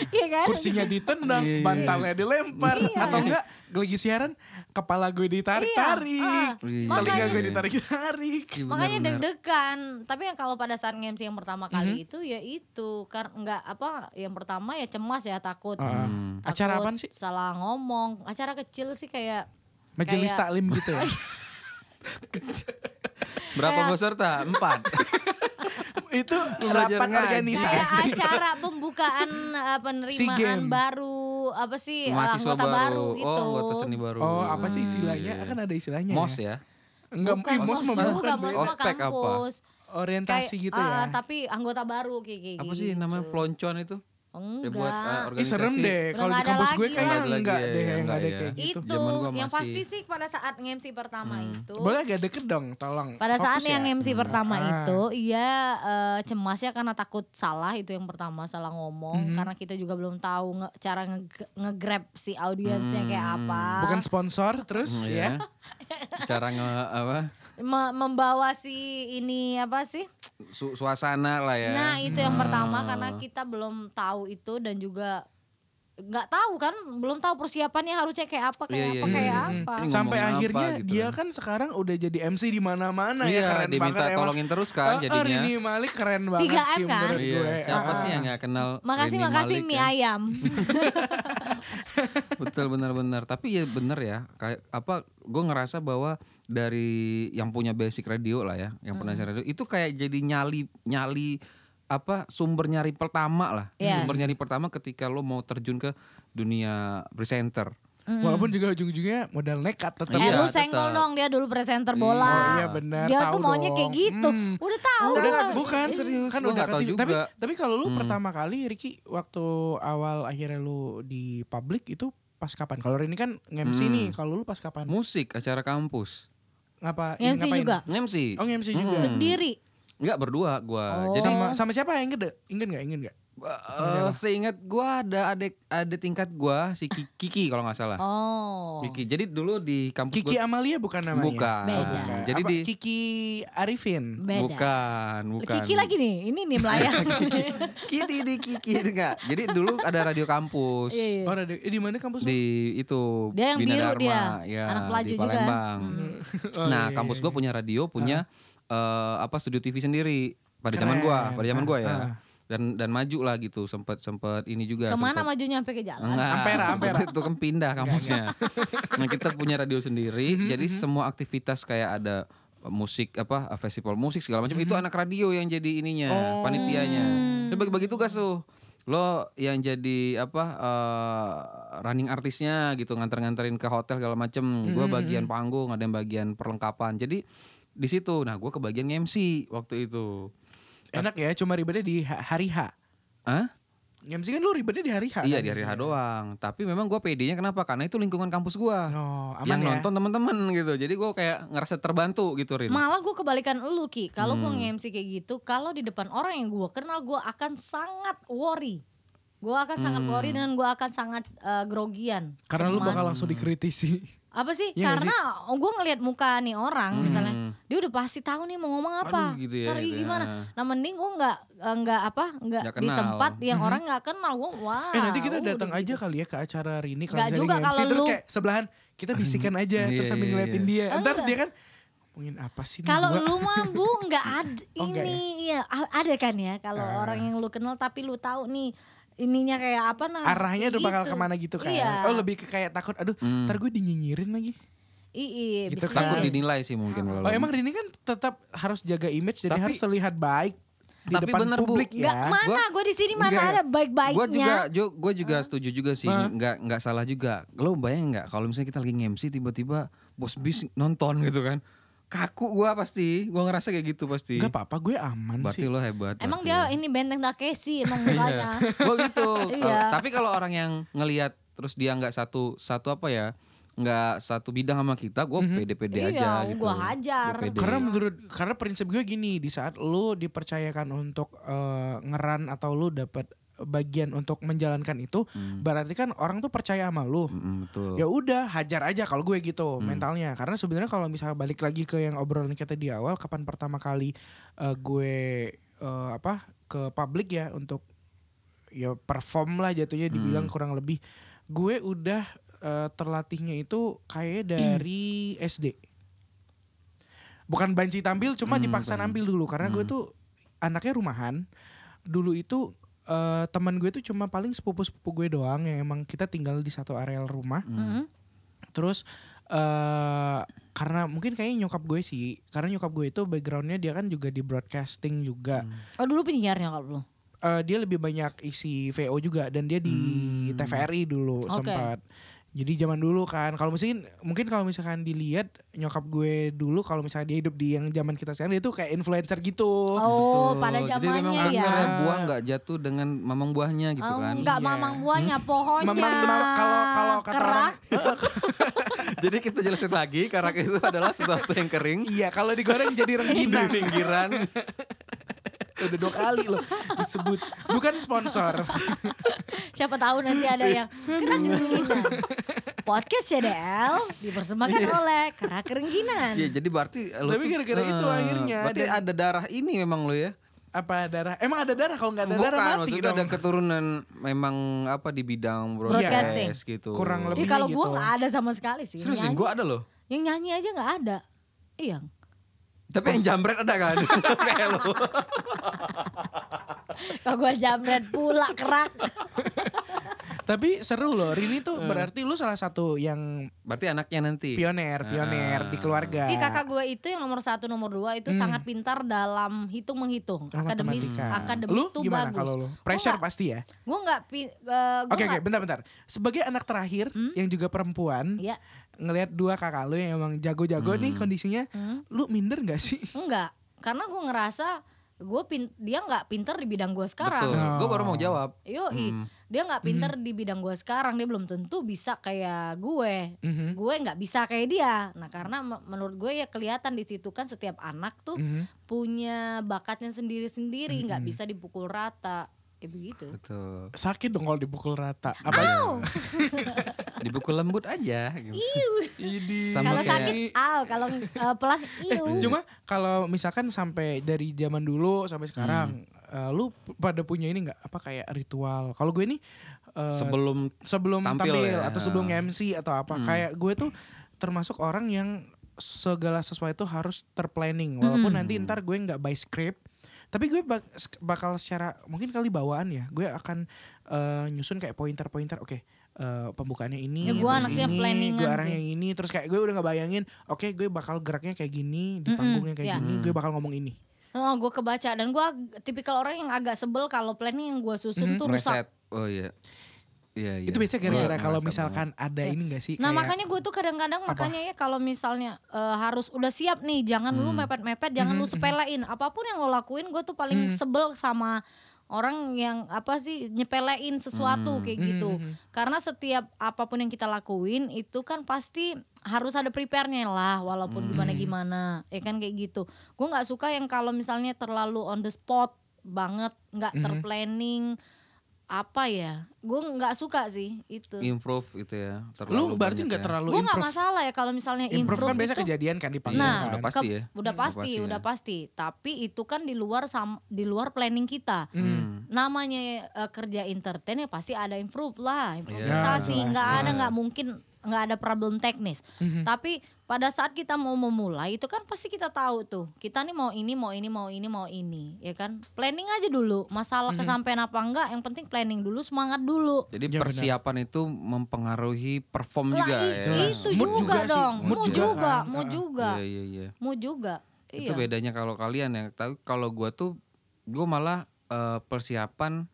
[SPEAKER 3] Iya kan?
[SPEAKER 1] kursinya ditendang bantalnya dilempar
[SPEAKER 3] Iya.
[SPEAKER 1] atau enggak lagi siaran kepala gue ditarik
[SPEAKER 3] Ah.
[SPEAKER 1] tarik
[SPEAKER 2] Iya.
[SPEAKER 1] telinga
[SPEAKER 2] Makanya-
[SPEAKER 1] gue ditarik tarik
[SPEAKER 2] Iya,
[SPEAKER 3] Makanya
[SPEAKER 2] benar-benar.
[SPEAKER 3] deg-degan. Tapi yang kalau pada saat MC yang pertama kali
[SPEAKER 2] Mm-hmm.
[SPEAKER 3] itu ya itu karena nggak apa yang pertama ya cemas ya takut.
[SPEAKER 2] Mm.
[SPEAKER 3] Takut
[SPEAKER 1] Ah. acara apaan sih
[SPEAKER 3] Salah ngomong. Acara kecil sih kayak
[SPEAKER 1] majelis
[SPEAKER 3] kayak-
[SPEAKER 1] taklim gitu ya
[SPEAKER 2] Berapa
[SPEAKER 3] Kayak-
[SPEAKER 2] peserta? Empat.
[SPEAKER 1] itu kan
[SPEAKER 2] Belajar
[SPEAKER 1] rapat
[SPEAKER 2] ngaji.
[SPEAKER 3] kayak
[SPEAKER 1] organisasi
[SPEAKER 3] acara pembukaan eh,
[SPEAKER 1] SEA
[SPEAKER 3] penerimaan
[SPEAKER 1] Games.
[SPEAKER 3] baru apa sih eh,
[SPEAKER 2] Mahasiswa
[SPEAKER 3] anggota
[SPEAKER 2] baru.
[SPEAKER 3] baru gitu.
[SPEAKER 2] Oh, anggota seni baru.
[SPEAKER 1] oh apa sih istilahnya
[SPEAKER 2] Iya.
[SPEAKER 1] kan ada istilahnya
[SPEAKER 2] Mos
[SPEAKER 1] ya
[SPEAKER 2] ya.
[SPEAKER 1] enggak
[SPEAKER 3] Bukan,
[SPEAKER 1] ih, mos mah
[SPEAKER 3] juga,
[SPEAKER 1] bukan,
[SPEAKER 3] mos
[SPEAKER 1] Beb.
[SPEAKER 3] mah
[SPEAKER 2] Ospek apa?
[SPEAKER 3] kampus. Kayak,
[SPEAKER 1] orientasi gitu
[SPEAKER 3] ah,
[SPEAKER 1] ya
[SPEAKER 3] tapi anggota baru kayak, kayak
[SPEAKER 2] Apa sih
[SPEAKER 3] gitu.
[SPEAKER 2] namanya peloncon itu? Ya,
[SPEAKER 3] Enggak.
[SPEAKER 2] buat, eh,
[SPEAKER 1] Ih
[SPEAKER 2] organisasi.
[SPEAKER 1] serem deh
[SPEAKER 3] Udah
[SPEAKER 1] kalau di
[SPEAKER 3] nggak ada
[SPEAKER 1] kampus gue
[SPEAKER 3] lagi
[SPEAKER 1] kayaknya
[SPEAKER 2] lah. Nggak ada
[SPEAKER 1] enggak
[SPEAKER 2] lagi ya,
[SPEAKER 1] deh enggak
[SPEAKER 2] nggak
[SPEAKER 1] ada
[SPEAKER 2] ya.
[SPEAKER 1] kayak gitu.
[SPEAKER 3] itu
[SPEAKER 2] Zaman gua
[SPEAKER 3] yang
[SPEAKER 2] masih- Hmm.
[SPEAKER 3] pasti sih pada saat MC pertama itu.
[SPEAKER 1] Boleh agak deket dong tolong.
[SPEAKER 3] Pada saat
[SPEAKER 1] Fokus
[SPEAKER 3] yang
[SPEAKER 1] ya.
[SPEAKER 3] MC pertama
[SPEAKER 1] Ah.
[SPEAKER 3] itu, iya eh, cemasnya karena takut salah itu yang pertama salah ngomong
[SPEAKER 2] Hmm.
[SPEAKER 3] karena kita juga belum tahu nge- cara nge- nge-grab si audiensnya kayak apa.
[SPEAKER 1] Bukan sponsor terus
[SPEAKER 2] Hmm,
[SPEAKER 1] ya.
[SPEAKER 2] ya. Cara nge apa?
[SPEAKER 3] Me- membawa si ini apa sih?
[SPEAKER 2] Su- suasana lah ya.
[SPEAKER 3] Nah itu yang
[SPEAKER 2] Ah.
[SPEAKER 3] pertama karena kita belum tahu itu dan juga nggak tahu kan, belum tahu persiapannya harusnya kayak apa kayak
[SPEAKER 2] Iya, iya,
[SPEAKER 3] apa
[SPEAKER 2] iya,
[SPEAKER 3] kayak
[SPEAKER 2] iya.
[SPEAKER 3] apa.
[SPEAKER 1] Hmm,
[SPEAKER 2] Ini
[SPEAKER 1] Sampai
[SPEAKER 2] ngomongin apa
[SPEAKER 1] akhirnya
[SPEAKER 2] gitu.
[SPEAKER 1] dia kan sekarang udah jadi MC di mana-mana ya
[SPEAKER 2] Iya,
[SPEAKER 1] keren
[SPEAKER 2] diminta
[SPEAKER 1] banget. emang.
[SPEAKER 2] tolongin terus kan
[SPEAKER 1] Eh, eh,
[SPEAKER 2] jadinya.
[SPEAKER 1] Rini Malik keren banget
[SPEAKER 3] 3M
[SPEAKER 1] sih
[SPEAKER 3] kan?
[SPEAKER 1] menurut
[SPEAKER 2] Iya,
[SPEAKER 1] gue.
[SPEAKER 2] siapa
[SPEAKER 1] Ah.
[SPEAKER 2] sih yang gak kenal
[SPEAKER 3] Makasih
[SPEAKER 2] Rini
[SPEAKER 3] makasih
[SPEAKER 2] Malik
[SPEAKER 3] mie
[SPEAKER 2] ya?
[SPEAKER 3] ayam.
[SPEAKER 2] Betul benar-benar. Tapi ya benar ya. Kayak apa? Gue ngerasa bahwa dari yang punya basic radio lah ya, yang
[SPEAKER 3] Hmm.
[SPEAKER 2] pernah siaran radio itu kayak jadi nyali nyali apa sumber nyari pertama lah.
[SPEAKER 3] Yes.
[SPEAKER 2] Sumber nyari pertama ketika lo mau terjun ke dunia presenter.
[SPEAKER 1] Walaupun juga ujung-ujungnya modal nekat tetap.
[SPEAKER 3] eh
[SPEAKER 2] Iya,
[SPEAKER 3] lu senggol
[SPEAKER 2] tetap.
[SPEAKER 3] dong dia dulu presenter
[SPEAKER 2] Iya.
[SPEAKER 3] bola.
[SPEAKER 1] Oh iya benar.
[SPEAKER 3] Dia
[SPEAKER 1] tahu
[SPEAKER 3] tuh maunya
[SPEAKER 1] dong.
[SPEAKER 3] kayak gitu.
[SPEAKER 1] Hmm.
[SPEAKER 3] Udah tahu.
[SPEAKER 1] Udah
[SPEAKER 3] kan?
[SPEAKER 1] kan bukan serius kan
[SPEAKER 2] Gua
[SPEAKER 1] udah
[SPEAKER 2] nggak tahu
[SPEAKER 1] ketiga.
[SPEAKER 2] juga. Hmm.
[SPEAKER 1] Tapi tapi kalau lu pertama kali Ricky waktu awal akhirnya lu di
[SPEAKER 2] Hmm.
[SPEAKER 1] publik itu pas kapan? Kalau Rini kan nge-MC nih, kalau lu pas kapan?
[SPEAKER 2] Musik acara kampus.
[SPEAKER 1] ngapa
[SPEAKER 3] MC
[SPEAKER 1] ngapain?
[SPEAKER 3] juga?
[SPEAKER 2] MC.
[SPEAKER 1] Oh, MC
[SPEAKER 2] Hmm.
[SPEAKER 1] juga.
[SPEAKER 3] Sendiri.
[SPEAKER 2] Enggak berdua gua.
[SPEAKER 3] Oh.
[SPEAKER 2] Jadi
[SPEAKER 1] Sama sama siapa yang gede? Ingat nggak? Ingat nggak?
[SPEAKER 2] eh, seingat gua ada adik ada tingkat gua si Ki- Kiki kalau nggak salah.
[SPEAKER 3] Oh.
[SPEAKER 2] Kiki. Jadi dulu di kampus
[SPEAKER 1] Kiki
[SPEAKER 2] gua
[SPEAKER 1] Amalia bukan namanya.
[SPEAKER 2] bukan.
[SPEAKER 3] Beda.
[SPEAKER 1] Bukan.
[SPEAKER 2] Jadi
[SPEAKER 1] Apa,
[SPEAKER 2] di
[SPEAKER 1] Kiki Arifin.
[SPEAKER 3] Beda.
[SPEAKER 2] bukan, bukan.
[SPEAKER 3] Kiki lagi nih, ini nih melayang.
[SPEAKER 2] Kiki di Kiki enggak. Jadi dulu ada radio kampus.
[SPEAKER 3] Iya, iya.
[SPEAKER 1] Oh, radio- eh, di mana kampus? lu?
[SPEAKER 2] di itu
[SPEAKER 3] Dia yang
[SPEAKER 2] Bina
[SPEAKER 3] biru
[SPEAKER 2] Dharma,
[SPEAKER 3] dia.
[SPEAKER 2] ya,
[SPEAKER 3] Anak pelaju
[SPEAKER 2] di
[SPEAKER 3] juga. Hmm.
[SPEAKER 2] Palembang.
[SPEAKER 1] Oh,
[SPEAKER 2] nah,
[SPEAKER 1] iya, iya,
[SPEAKER 2] kampus
[SPEAKER 1] iya.
[SPEAKER 2] gue punya radio, punya eh, apa studio TV sendiri pada zaman gua,
[SPEAKER 1] Keren.
[SPEAKER 2] pada zaman gua ya.
[SPEAKER 1] Ah, ah.
[SPEAKER 2] Dan dan maju lah gitu, sempat sempat ini juga.
[SPEAKER 3] Kemana
[SPEAKER 2] sempet-
[SPEAKER 3] majunya sampai ke jalan?
[SPEAKER 2] Enggak,
[SPEAKER 1] Ampera, Ampera.
[SPEAKER 2] itu kan pindah kampusnya. nah, kita punya radio sendiri,
[SPEAKER 1] Mm-hmm,
[SPEAKER 2] jadi semua aktivitas kayak ada eh, musik apa festival musik segala macam
[SPEAKER 1] Mm-hmm.
[SPEAKER 2] itu anak radio yang jadi ininya
[SPEAKER 1] Oh.
[SPEAKER 2] panitianya Jadi bagi-bagi tugas tuh lo yang jadi apa eh, running artisnya gitu nganter-nganterin ke hotel segala macem gue
[SPEAKER 1] Mm-hmm,
[SPEAKER 2] bagian panggung ada yang bagian perlengkapan jadi di situ nah gue kebagian MC waktu itu
[SPEAKER 1] Enak ya, cuma ribetnya di ha- hari H.
[SPEAKER 2] Hah?
[SPEAKER 1] MC kan lu ribetnya di hari H.
[SPEAKER 2] iya
[SPEAKER 1] kan?
[SPEAKER 2] di hari H doang tapi memang gue PD-nya kenapa karena itu lingkungan kampus gue
[SPEAKER 1] Oh, aman
[SPEAKER 2] yang
[SPEAKER 1] ya.
[SPEAKER 2] nonton teman-teman gitu. Jadi gue kayak ngerasa terbantu gitu Rin.
[SPEAKER 3] Malah gue kebalikan lu Ki Kalau gue nge-MC kayak gitu Kalau di depan orang yang gue kenal Gue akan sangat worry Gue akan sangat worry Dan gue akan sangat eh, grogian
[SPEAKER 1] Karena lu
[SPEAKER 3] Cemas.
[SPEAKER 1] bakal langsung dikritisi.
[SPEAKER 3] Apa sih?
[SPEAKER 1] Iya nggak
[SPEAKER 3] Karena gue ngelihat muka nih orang Misalnya Dia udah pasti tahu nih mau ngomong apa
[SPEAKER 2] Aduh, gitu ya,
[SPEAKER 3] Ntar
[SPEAKER 2] gitu ya.
[SPEAKER 3] gimana Nah mending gue nggak eh, nggak apa nggak
[SPEAKER 2] Nggak
[SPEAKER 3] di
[SPEAKER 2] kenal.
[SPEAKER 3] tempat yang orang nggak kenal Gue wah
[SPEAKER 1] eh nanti kita
[SPEAKER 3] udah
[SPEAKER 1] datang
[SPEAKER 3] gitu.
[SPEAKER 1] aja kali ya ke acara Rini
[SPEAKER 3] Nggak
[SPEAKER 1] kalau misalnya
[SPEAKER 3] juga
[SPEAKER 1] nge-MC,
[SPEAKER 3] kalau
[SPEAKER 1] terus
[SPEAKER 3] lu- Hmm.
[SPEAKER 1] kayak sebelahan kita bisikan aja
[SPEAKER 2] Iya,
[SPEAKER 1] terus sambil
[SPEAKER 2] iya,
[SPEAKER 1] ngeliatin dia. Ntar
[SPEAKER 3] Eh, Enggak.
[SPEAKER 1] dia kan ngomongin apa sih nih
[SPEAKER 3] Kalau
[SPEAKER 1] gua?"
[SPEAKER 3] lu mah bu nggak ada
[SPEAKER 1] Oh, nggak Ah.
[SPEAKER 3] ini ya ada kan ya kalau orang yang lu kenal tapi lu tahu nih ininya kayak apa nah
[SPEAKER 1] arahnya udah bakal
[SPEAKER 3] gitu.
[SPEAKER 1] kemana gitu kan.
[SPEAKER 3] Iya.
[SPEAKER 1] Oh, lebih ke kayak takut aduh,
[SPEAKER 2] Hmm.
[SPEAKER 1] ntar gue dinyinyirin lagi.
[SPEAKER 3] Iya,
[SPEAKER 1] Gitu
[SPEAKER 3] bisa.
[SPEAKER 1] kan.
[SPEAKER 2] Takut dinilai sih mungkin kalau
[SPEAKER 1] Oh, emang Rini kan tetap harus jaga image jadi
[SPEAKER 2] Tapi-
[SPEAKER 1] harus terlihat baik di
[SPEAKER 2] tapi
[SPEAKER 1] depan
[SPEAKER 2] bener, Bu.
[SPEAKER 1] publik ya.
[SPEAKER 3] Nggak, mana gue di sini mana ada
[SPEAKER 2] Gue juga,
[SPEAKER 3] baik-baiknya.
[SPEAKER 2] jo, gue juga setuju juga sih, nggak nggak salah juga. Lo bayang nggak kalau misalnya kita lagi MC tiba-tiba bos bis nonton gitu kan, kaku gue pasti, gue ngerasa kayak gitu pasti.
[SPEAKER 1] Gak apa-apa, gue aman
[SPEAKER 2] Berarti
[SPEAKER 1] sih.
[SPEAKER 2] lo hebat.
[SPEAKER 3] Emang dia ini benteng Takeshi emang
[SPEAKER 1] Iya,
[SPEAKER 3] mukanya.
[SPEAKER 2] gue gitu.
[SPEAKER 3] Iya.
[SPEAKER 2] Kalau- Tapi kalau orang yang ngelihat terus dia nggak satu satu apa ya, nggak satu bidang sama kita, gue pede-pede
[SPEAKER 3] Iya,
[SPEAKER 2] aja gitu.
[SPEAKER 3] gua hajar.
[SPEAKER 2] Gua pede.
[SPEAKER 1] Karena menurut karena prinsip gue gini, di saat lo dipercayakan untuk eh, ngeran atau lo dapat bagian untuk menjalankan itu,
[SPEAKER 2] Hmm.
[SPEAKER 1] berarti kan orang tuh percaya sama lo.
[SPEAKER 2] Mm, betul.
[SPEAKER 1] Ya udah, hajar aja kalau gue gitu mentalnya. Karena sebenarnya kalau misalnya balik lagi ke yang obrolan kita di awal, kapan pertama kali eh, gue eh, apa ke publik ya untuk ya perform lah jatuhnya dibilang kurang lebih. Gue udah eh, terlatihnya itu kayak dari SD. Bukan banci tampil, cuma dipaksa nampil dulu karena gue tuh anaknya rumahan. Dulu itu eh, teman gue tuh cuma paling sepupu-sepupu gue doang yang emang kita tinggal di satu areal rumah.
[SPEAKER 3] Mm-mm.
[SPEAKER 1] Terus eh karena mungkin kayaknya nyokap gue sih, karena nyokap gue itu backgroundnya dia kan juga di broadcasting juga.
[SPEAKER 2] Hmm.
[SPEAKER 3] Oh dulu penyiarnya kalau belum.
[SPEAKER 1] Eh, dia lebih banyak isi VO juga dan dia di
[SPEAKER 2] Hmm.
[SPEAKER 1] TVRI dulu
[SPEAKER 3] Oke.
[SPEAKER 1] sempat. Jadi zaman dulu kan, kalau mungkin mungkin kalau misalkan dilihat nyokap gue dulu kalau misalnya dia hidup di yang zaman kita sekarang dia tuh kayak influencer gitu.
[SPEAKER 3] Oh
[SPEAKER 2] Betul.
[SPEAKER 3] pada
[SPEAKER 2] Jadi memang
[SPEAKER 3] zamannya ya.
[SPEAKER 2] bener buah nggak jatuh dengan mamang buahnya gitu
[SPEAKER 3] Oh,
[SPEAKER 2] kan.
[SPEAKER 3] enggak
[SPEAKER 1] Iya.
[SPEAKER 3] mamang buahnya pohonnya.
[SPEAKER 1] Memang memang kalau kalau kata
[SPEAKER 3] kerak.
[SPEAKER 1] orang
[SPEAKER 2] Jadi kita jelasin lagi karak itu adalah sesuatu yang kering,
[SPEAKER 1] iya kalau digoreng jadi rengginang.
[SPEAKER 2] pinggiran.
[SPEAKER 1] Udah dua kali loh disebut. Bukan sponsor.
[SPEAKER 3] Siapa tahu nanti ada yang kerak kerengginan. Podcast CDL dipersembahkan
[SPEAKER 1] Iya.
[SPEAKER 3] oleh kerak kerengginan.
[SPEAKER 2] Ya jadi berarti lu
[SPEAKER 1] Tapi
[SPEAKER 2] tuh-
[SPEAKER 1] gara-gara itu
[SPEAKER 2] eh,
[SPEAKER 1] akhirnya
[SPEAKER 2] Berarti
[SPEAKER 1] dan-
[SPEAKER 2] ada darah ini memang lo ya.
[SPEAKER 1] apa darah emang ada darah kalau nggak ada darah
[SPEAKER 2] Bukan
[SPEAKER 1] mati
[SPEAKER 2] maksudnya
[SPEAKER 1] dong Iya.
[SPEAKER 2] ada keturunan memang apa di bidang
[SPEAKER 3] Broadcasting.
[SPEAKER 2] broadcast gitu. Iya.
[SPEAKER 1] Kurang lebih.
[SPEAKER 3] Ih, kalau gue
[SPEAKER 1] gitu.
[SPEAKER 3] gak ada sama sekali sih.
[SPEAKER 2] Serius
[SPEAKER 3] Nyanyi-
[SPEAKER 2] gue ada loh.
[SPEAKER 3] Yang nyanyi aja nggak ada. Iya.
[SPEAKER 2] Tapi yang jambret ada kan? Kayak lo.
[SPEAKER 3] Kalau gue jamret pula kerak.
[SPEAKER 1] tapi seru loh Rini tuh berarti lu salah satu yang
[SPEAKER 2] Berarti anaknya nanti.
[SPEAKER 1] pioner pioner di keluarga
[SPEAKER 3] Ih, kakak gue itu yang nomor satu nomor dua
[SPEAKER 1] Hmm.
[SPEAKER 3] itu sangat pintar dalam hitung menghitung.
[SPEAKER 1] Sama
[SPEAKER 3] Akademis
[SPEAKER 1] matematika.
[SPEAKER 3] akademik
[SPEAKER 1] lu
[SPEAKER 3] tuh
[SPEAKER 1] gimana
[SPEAKER 3] bagus.
[SPEAKER 1] kalau lu pressure pasti ya
[SPEAKER 3] Gue nggak pi- eh, gua
[SPEAKER 1] oke oke
[SPEAKER 3] nggak- Hmm?
[SPEAKER 1] bentar bentar sebagai anak terakhir yang juga perempuan
[SPEAKER 3] Iya.
[SPEAKER 1] ngelihat dua kakak lu Hmm.
[SPEAKER 3] Hmm.
[SPEAKER 1] yang emang jago-jago nih kondisinya lu minder nggak sih
[SPEAKER 3] Enggak, karena gue ngerasa gue pin dia nggak pinter di bidang gue sekarang.
[SPEAKER 2] Betul. Gue baru
[SPEAKER 1] Oh.
[SPEAKER 2] mau jawab.
[SPEAKER 1] iya.
[SPEAKER 2] Hmm,
[SPEAKER 3] Yoi, dia nggak
[SPEAKER 2] Mhm.
[SPEAKER 3] pinter di bidang gue sekarang, dia belum tentu bisa kayak gue.
[SPEAKER 2] Mhm.
[SPEAKER 3] Gue nggak bisa kayak dia. Nah karena me- menurut gue ya kelihatan di situ kan setiap anak tuh
[SPEAKER 2] Mhm.
[SPEAKER 1] Mm-hmm.
[SPEAKER 3] punya bakatnya sendiri-sendiri, nggak bisa dipukul rata. Ya begitu.
[SPEAKER 2] Betul.
[SPEAKER 1] Sakit dong kalau dipukul rata.
[SPEAKER 2] Iya,
[SPEAKER 3] Ah.
[SPEAKER 1] Apa?
[SPEAKER 3] Au,
[SPEAKER 2] Dipukul lembut aja. Gitu.
[SPEAKER 1] Iya. Idi. Iya.
[SPEAKER 2] Sama
[SPEAKER 3] kalau
[SPEAKER 2] kayak-
[SPEAKER 3] sakit, au. Kalau eh, pelan, iu.
[SPEAKER 1] Cuma kalau misalkan sampai dari zaman dulu sampai sekarang, eh, lu pada punya ini nggak apa kayak ritual? Kalau gue ini eh,
[SPEAKER 2] Sebelum
[SPEAKER 1] sebelum tampil,
[SPEAKER 2] tampil ya.
[SPEAKER 1] atau sebelum MC atau apa
[SPEAKER 3] Hmm.
[SPEAKER 1] kayak gue tuh termasuk orang yang segala sesuatu itu harus terplanning walaupun
[SPEAKER 3] Hmm.
[SPEAKER 1] nanti ntar gue nggak by script tapi gue bak- sk- bakal secara mungkin kali bawaan ya gue akan eh, nyusun kayak pointer-pointer oke eh, pembukaannya ini
[SPEAKER 3] Ya, gue
[SPEAKER 1] terus
[SPEAKER 3] anaknya
[SPEAKER 1] ini
[SPEAKER 3] planningan
[SPEAKER 1] gue orang
[SPEAKER 3] sih.
[SPEAKER 1] yang ini terus kayak gue udah nggak bayangin oke gue bakal geraknya kayak gini di
[SPEAKER 3] Mm-mm,
[SPEAKER 1] panggungnya kayak
[SPEAKER 3] iya.
[SPEAKER 1] gini gue bakal ngomong ini
[SPEAKER 3] Oh, gue kebaca dan gue tipikal orang yang agak sebel kalau planning yang gue susun tuh rusak.
[SPEAKER 2] reset. Oh iya. Iya, iya.
[SPEAKER 1] itu biasanya
[SPEAKER 2] Gua
[SPEAKER 1] gara-gara kalau
[SPEAKER 2] ngerasa
[SPEAKER 1] misalkan ada ini gak sih kayak
[SPEAKER 3] Nah makanya gue tuh kadang-kadang makanya ya kalau misalnya eh, harus udah siap nih, jangan lu mepet-mepet, jangan lu sepelein. Apapun yang lo lakuin, gue tuh paling sebel sama orang yang apa sih nyepelein sesuatu kayak gitu.
[SPEAKER 1] hmm. Mm-hmm.
[SPEAKER 3] Karena setiap apapun yang kita lakuin itu kan pasti harus ada prepare-nya lah, walaupun gimana-gimana, ya kan kayak gitu. Gue nggak suka yang kalau misalnya terlalu on the spot banget, nggak terplanning apa ya, gue nggak suka sih itu.
[SPEAKER 2] banget. Improve itu ya.
[SPEAKER 1] lu berarti
[SPEAKER 2] banyak
[SPEAKER 1] nggak
[SPEAKER 2] ya.
[SPEAKER 1] terlalu
[SPEAKER 3] Gue nggak
[SPEAKER 1] improve
[SPEAKER 3] masalah ya kalau misalnya
[SPEAKER 1] improve,
[SPEAKER 3] improve,
[SPEAKER 1] kan biasa
[SPEAKER 3] itu
[SPEAKER 1] kejadian kan di panggung
[SPEAKER 3] Nah,
[SPEAKER 1] kan.
[SPEAKER 2] udah pasti ya.
[SPEAKER 3] udah pasti,
[SPEAKER 2] ya.
[SPEAKER 3] udah pasti. Tapi itu kan di luar sam, di luar planning kita.
[SPEAKER 1] Hmm.
[SPEAKER 2] Hmm.
[SPEAKER 3] Namanya eh, kerja entertain ya pasti ada improve lah, improvisasi.
[SPEAKER 1] jelas,
[SPEAKER 3] nggak ada
[SPEAKER 2] Iya, jelas.
[SPEAKER 3] nggak mungkin nggak ada problem teknis.
[SPEAKER 1] Mhm.
[SPEAKER 3] Tapi pada saat kita mau memulai itu kan pasti kita tahu tuh. Kita nih mau ini, mau ini, mau ini, mau ini, ya kan? Planning aja dulu. Masalah
[SPEAKER 1] Mhm.
[SPEAKER 3] kesampaian apa enggak, yang penting planning dulu, semangat dulu.
[SPEAKER 2] Jadi
[SPEAKER 1] Ya, benar.
[SPEAKER 2] persiapan itu mempengaruhi perform
[SPEAKER 3] Lah,
[SPEAKER 2] juga
[SPEAKER 3] i-
[SPEAKER 2] ya.
[SPEAKER 1] Jelas.
[SPEAKER 3] itu
[SPEAKER 1] Mood
[SPEAKER 3] juga,
[SPEAKER 1] juga sih.
[SPEAKER 3] dong.
[SPEAKER 1] Mood
[SPEAKER 3] Mau
[SPEAKER 1] juga
[SPEAKER 3] juga,
[SPEAKER 1] kan.
[SPEAKER 3] mau
[SPEAKER 1] Ah,
[SPEAKER 3] juga.
[SPEAKER 2] Iya, iya, iya.
[SPEAKER 3] Mau juga.
[SPEAKER 2] Itu
[SPEAKER 3] Iya.
[SPEAKER 2] bedanya kalau kalian ya. Tapi kalau gua tuh gua malah eh, persiapan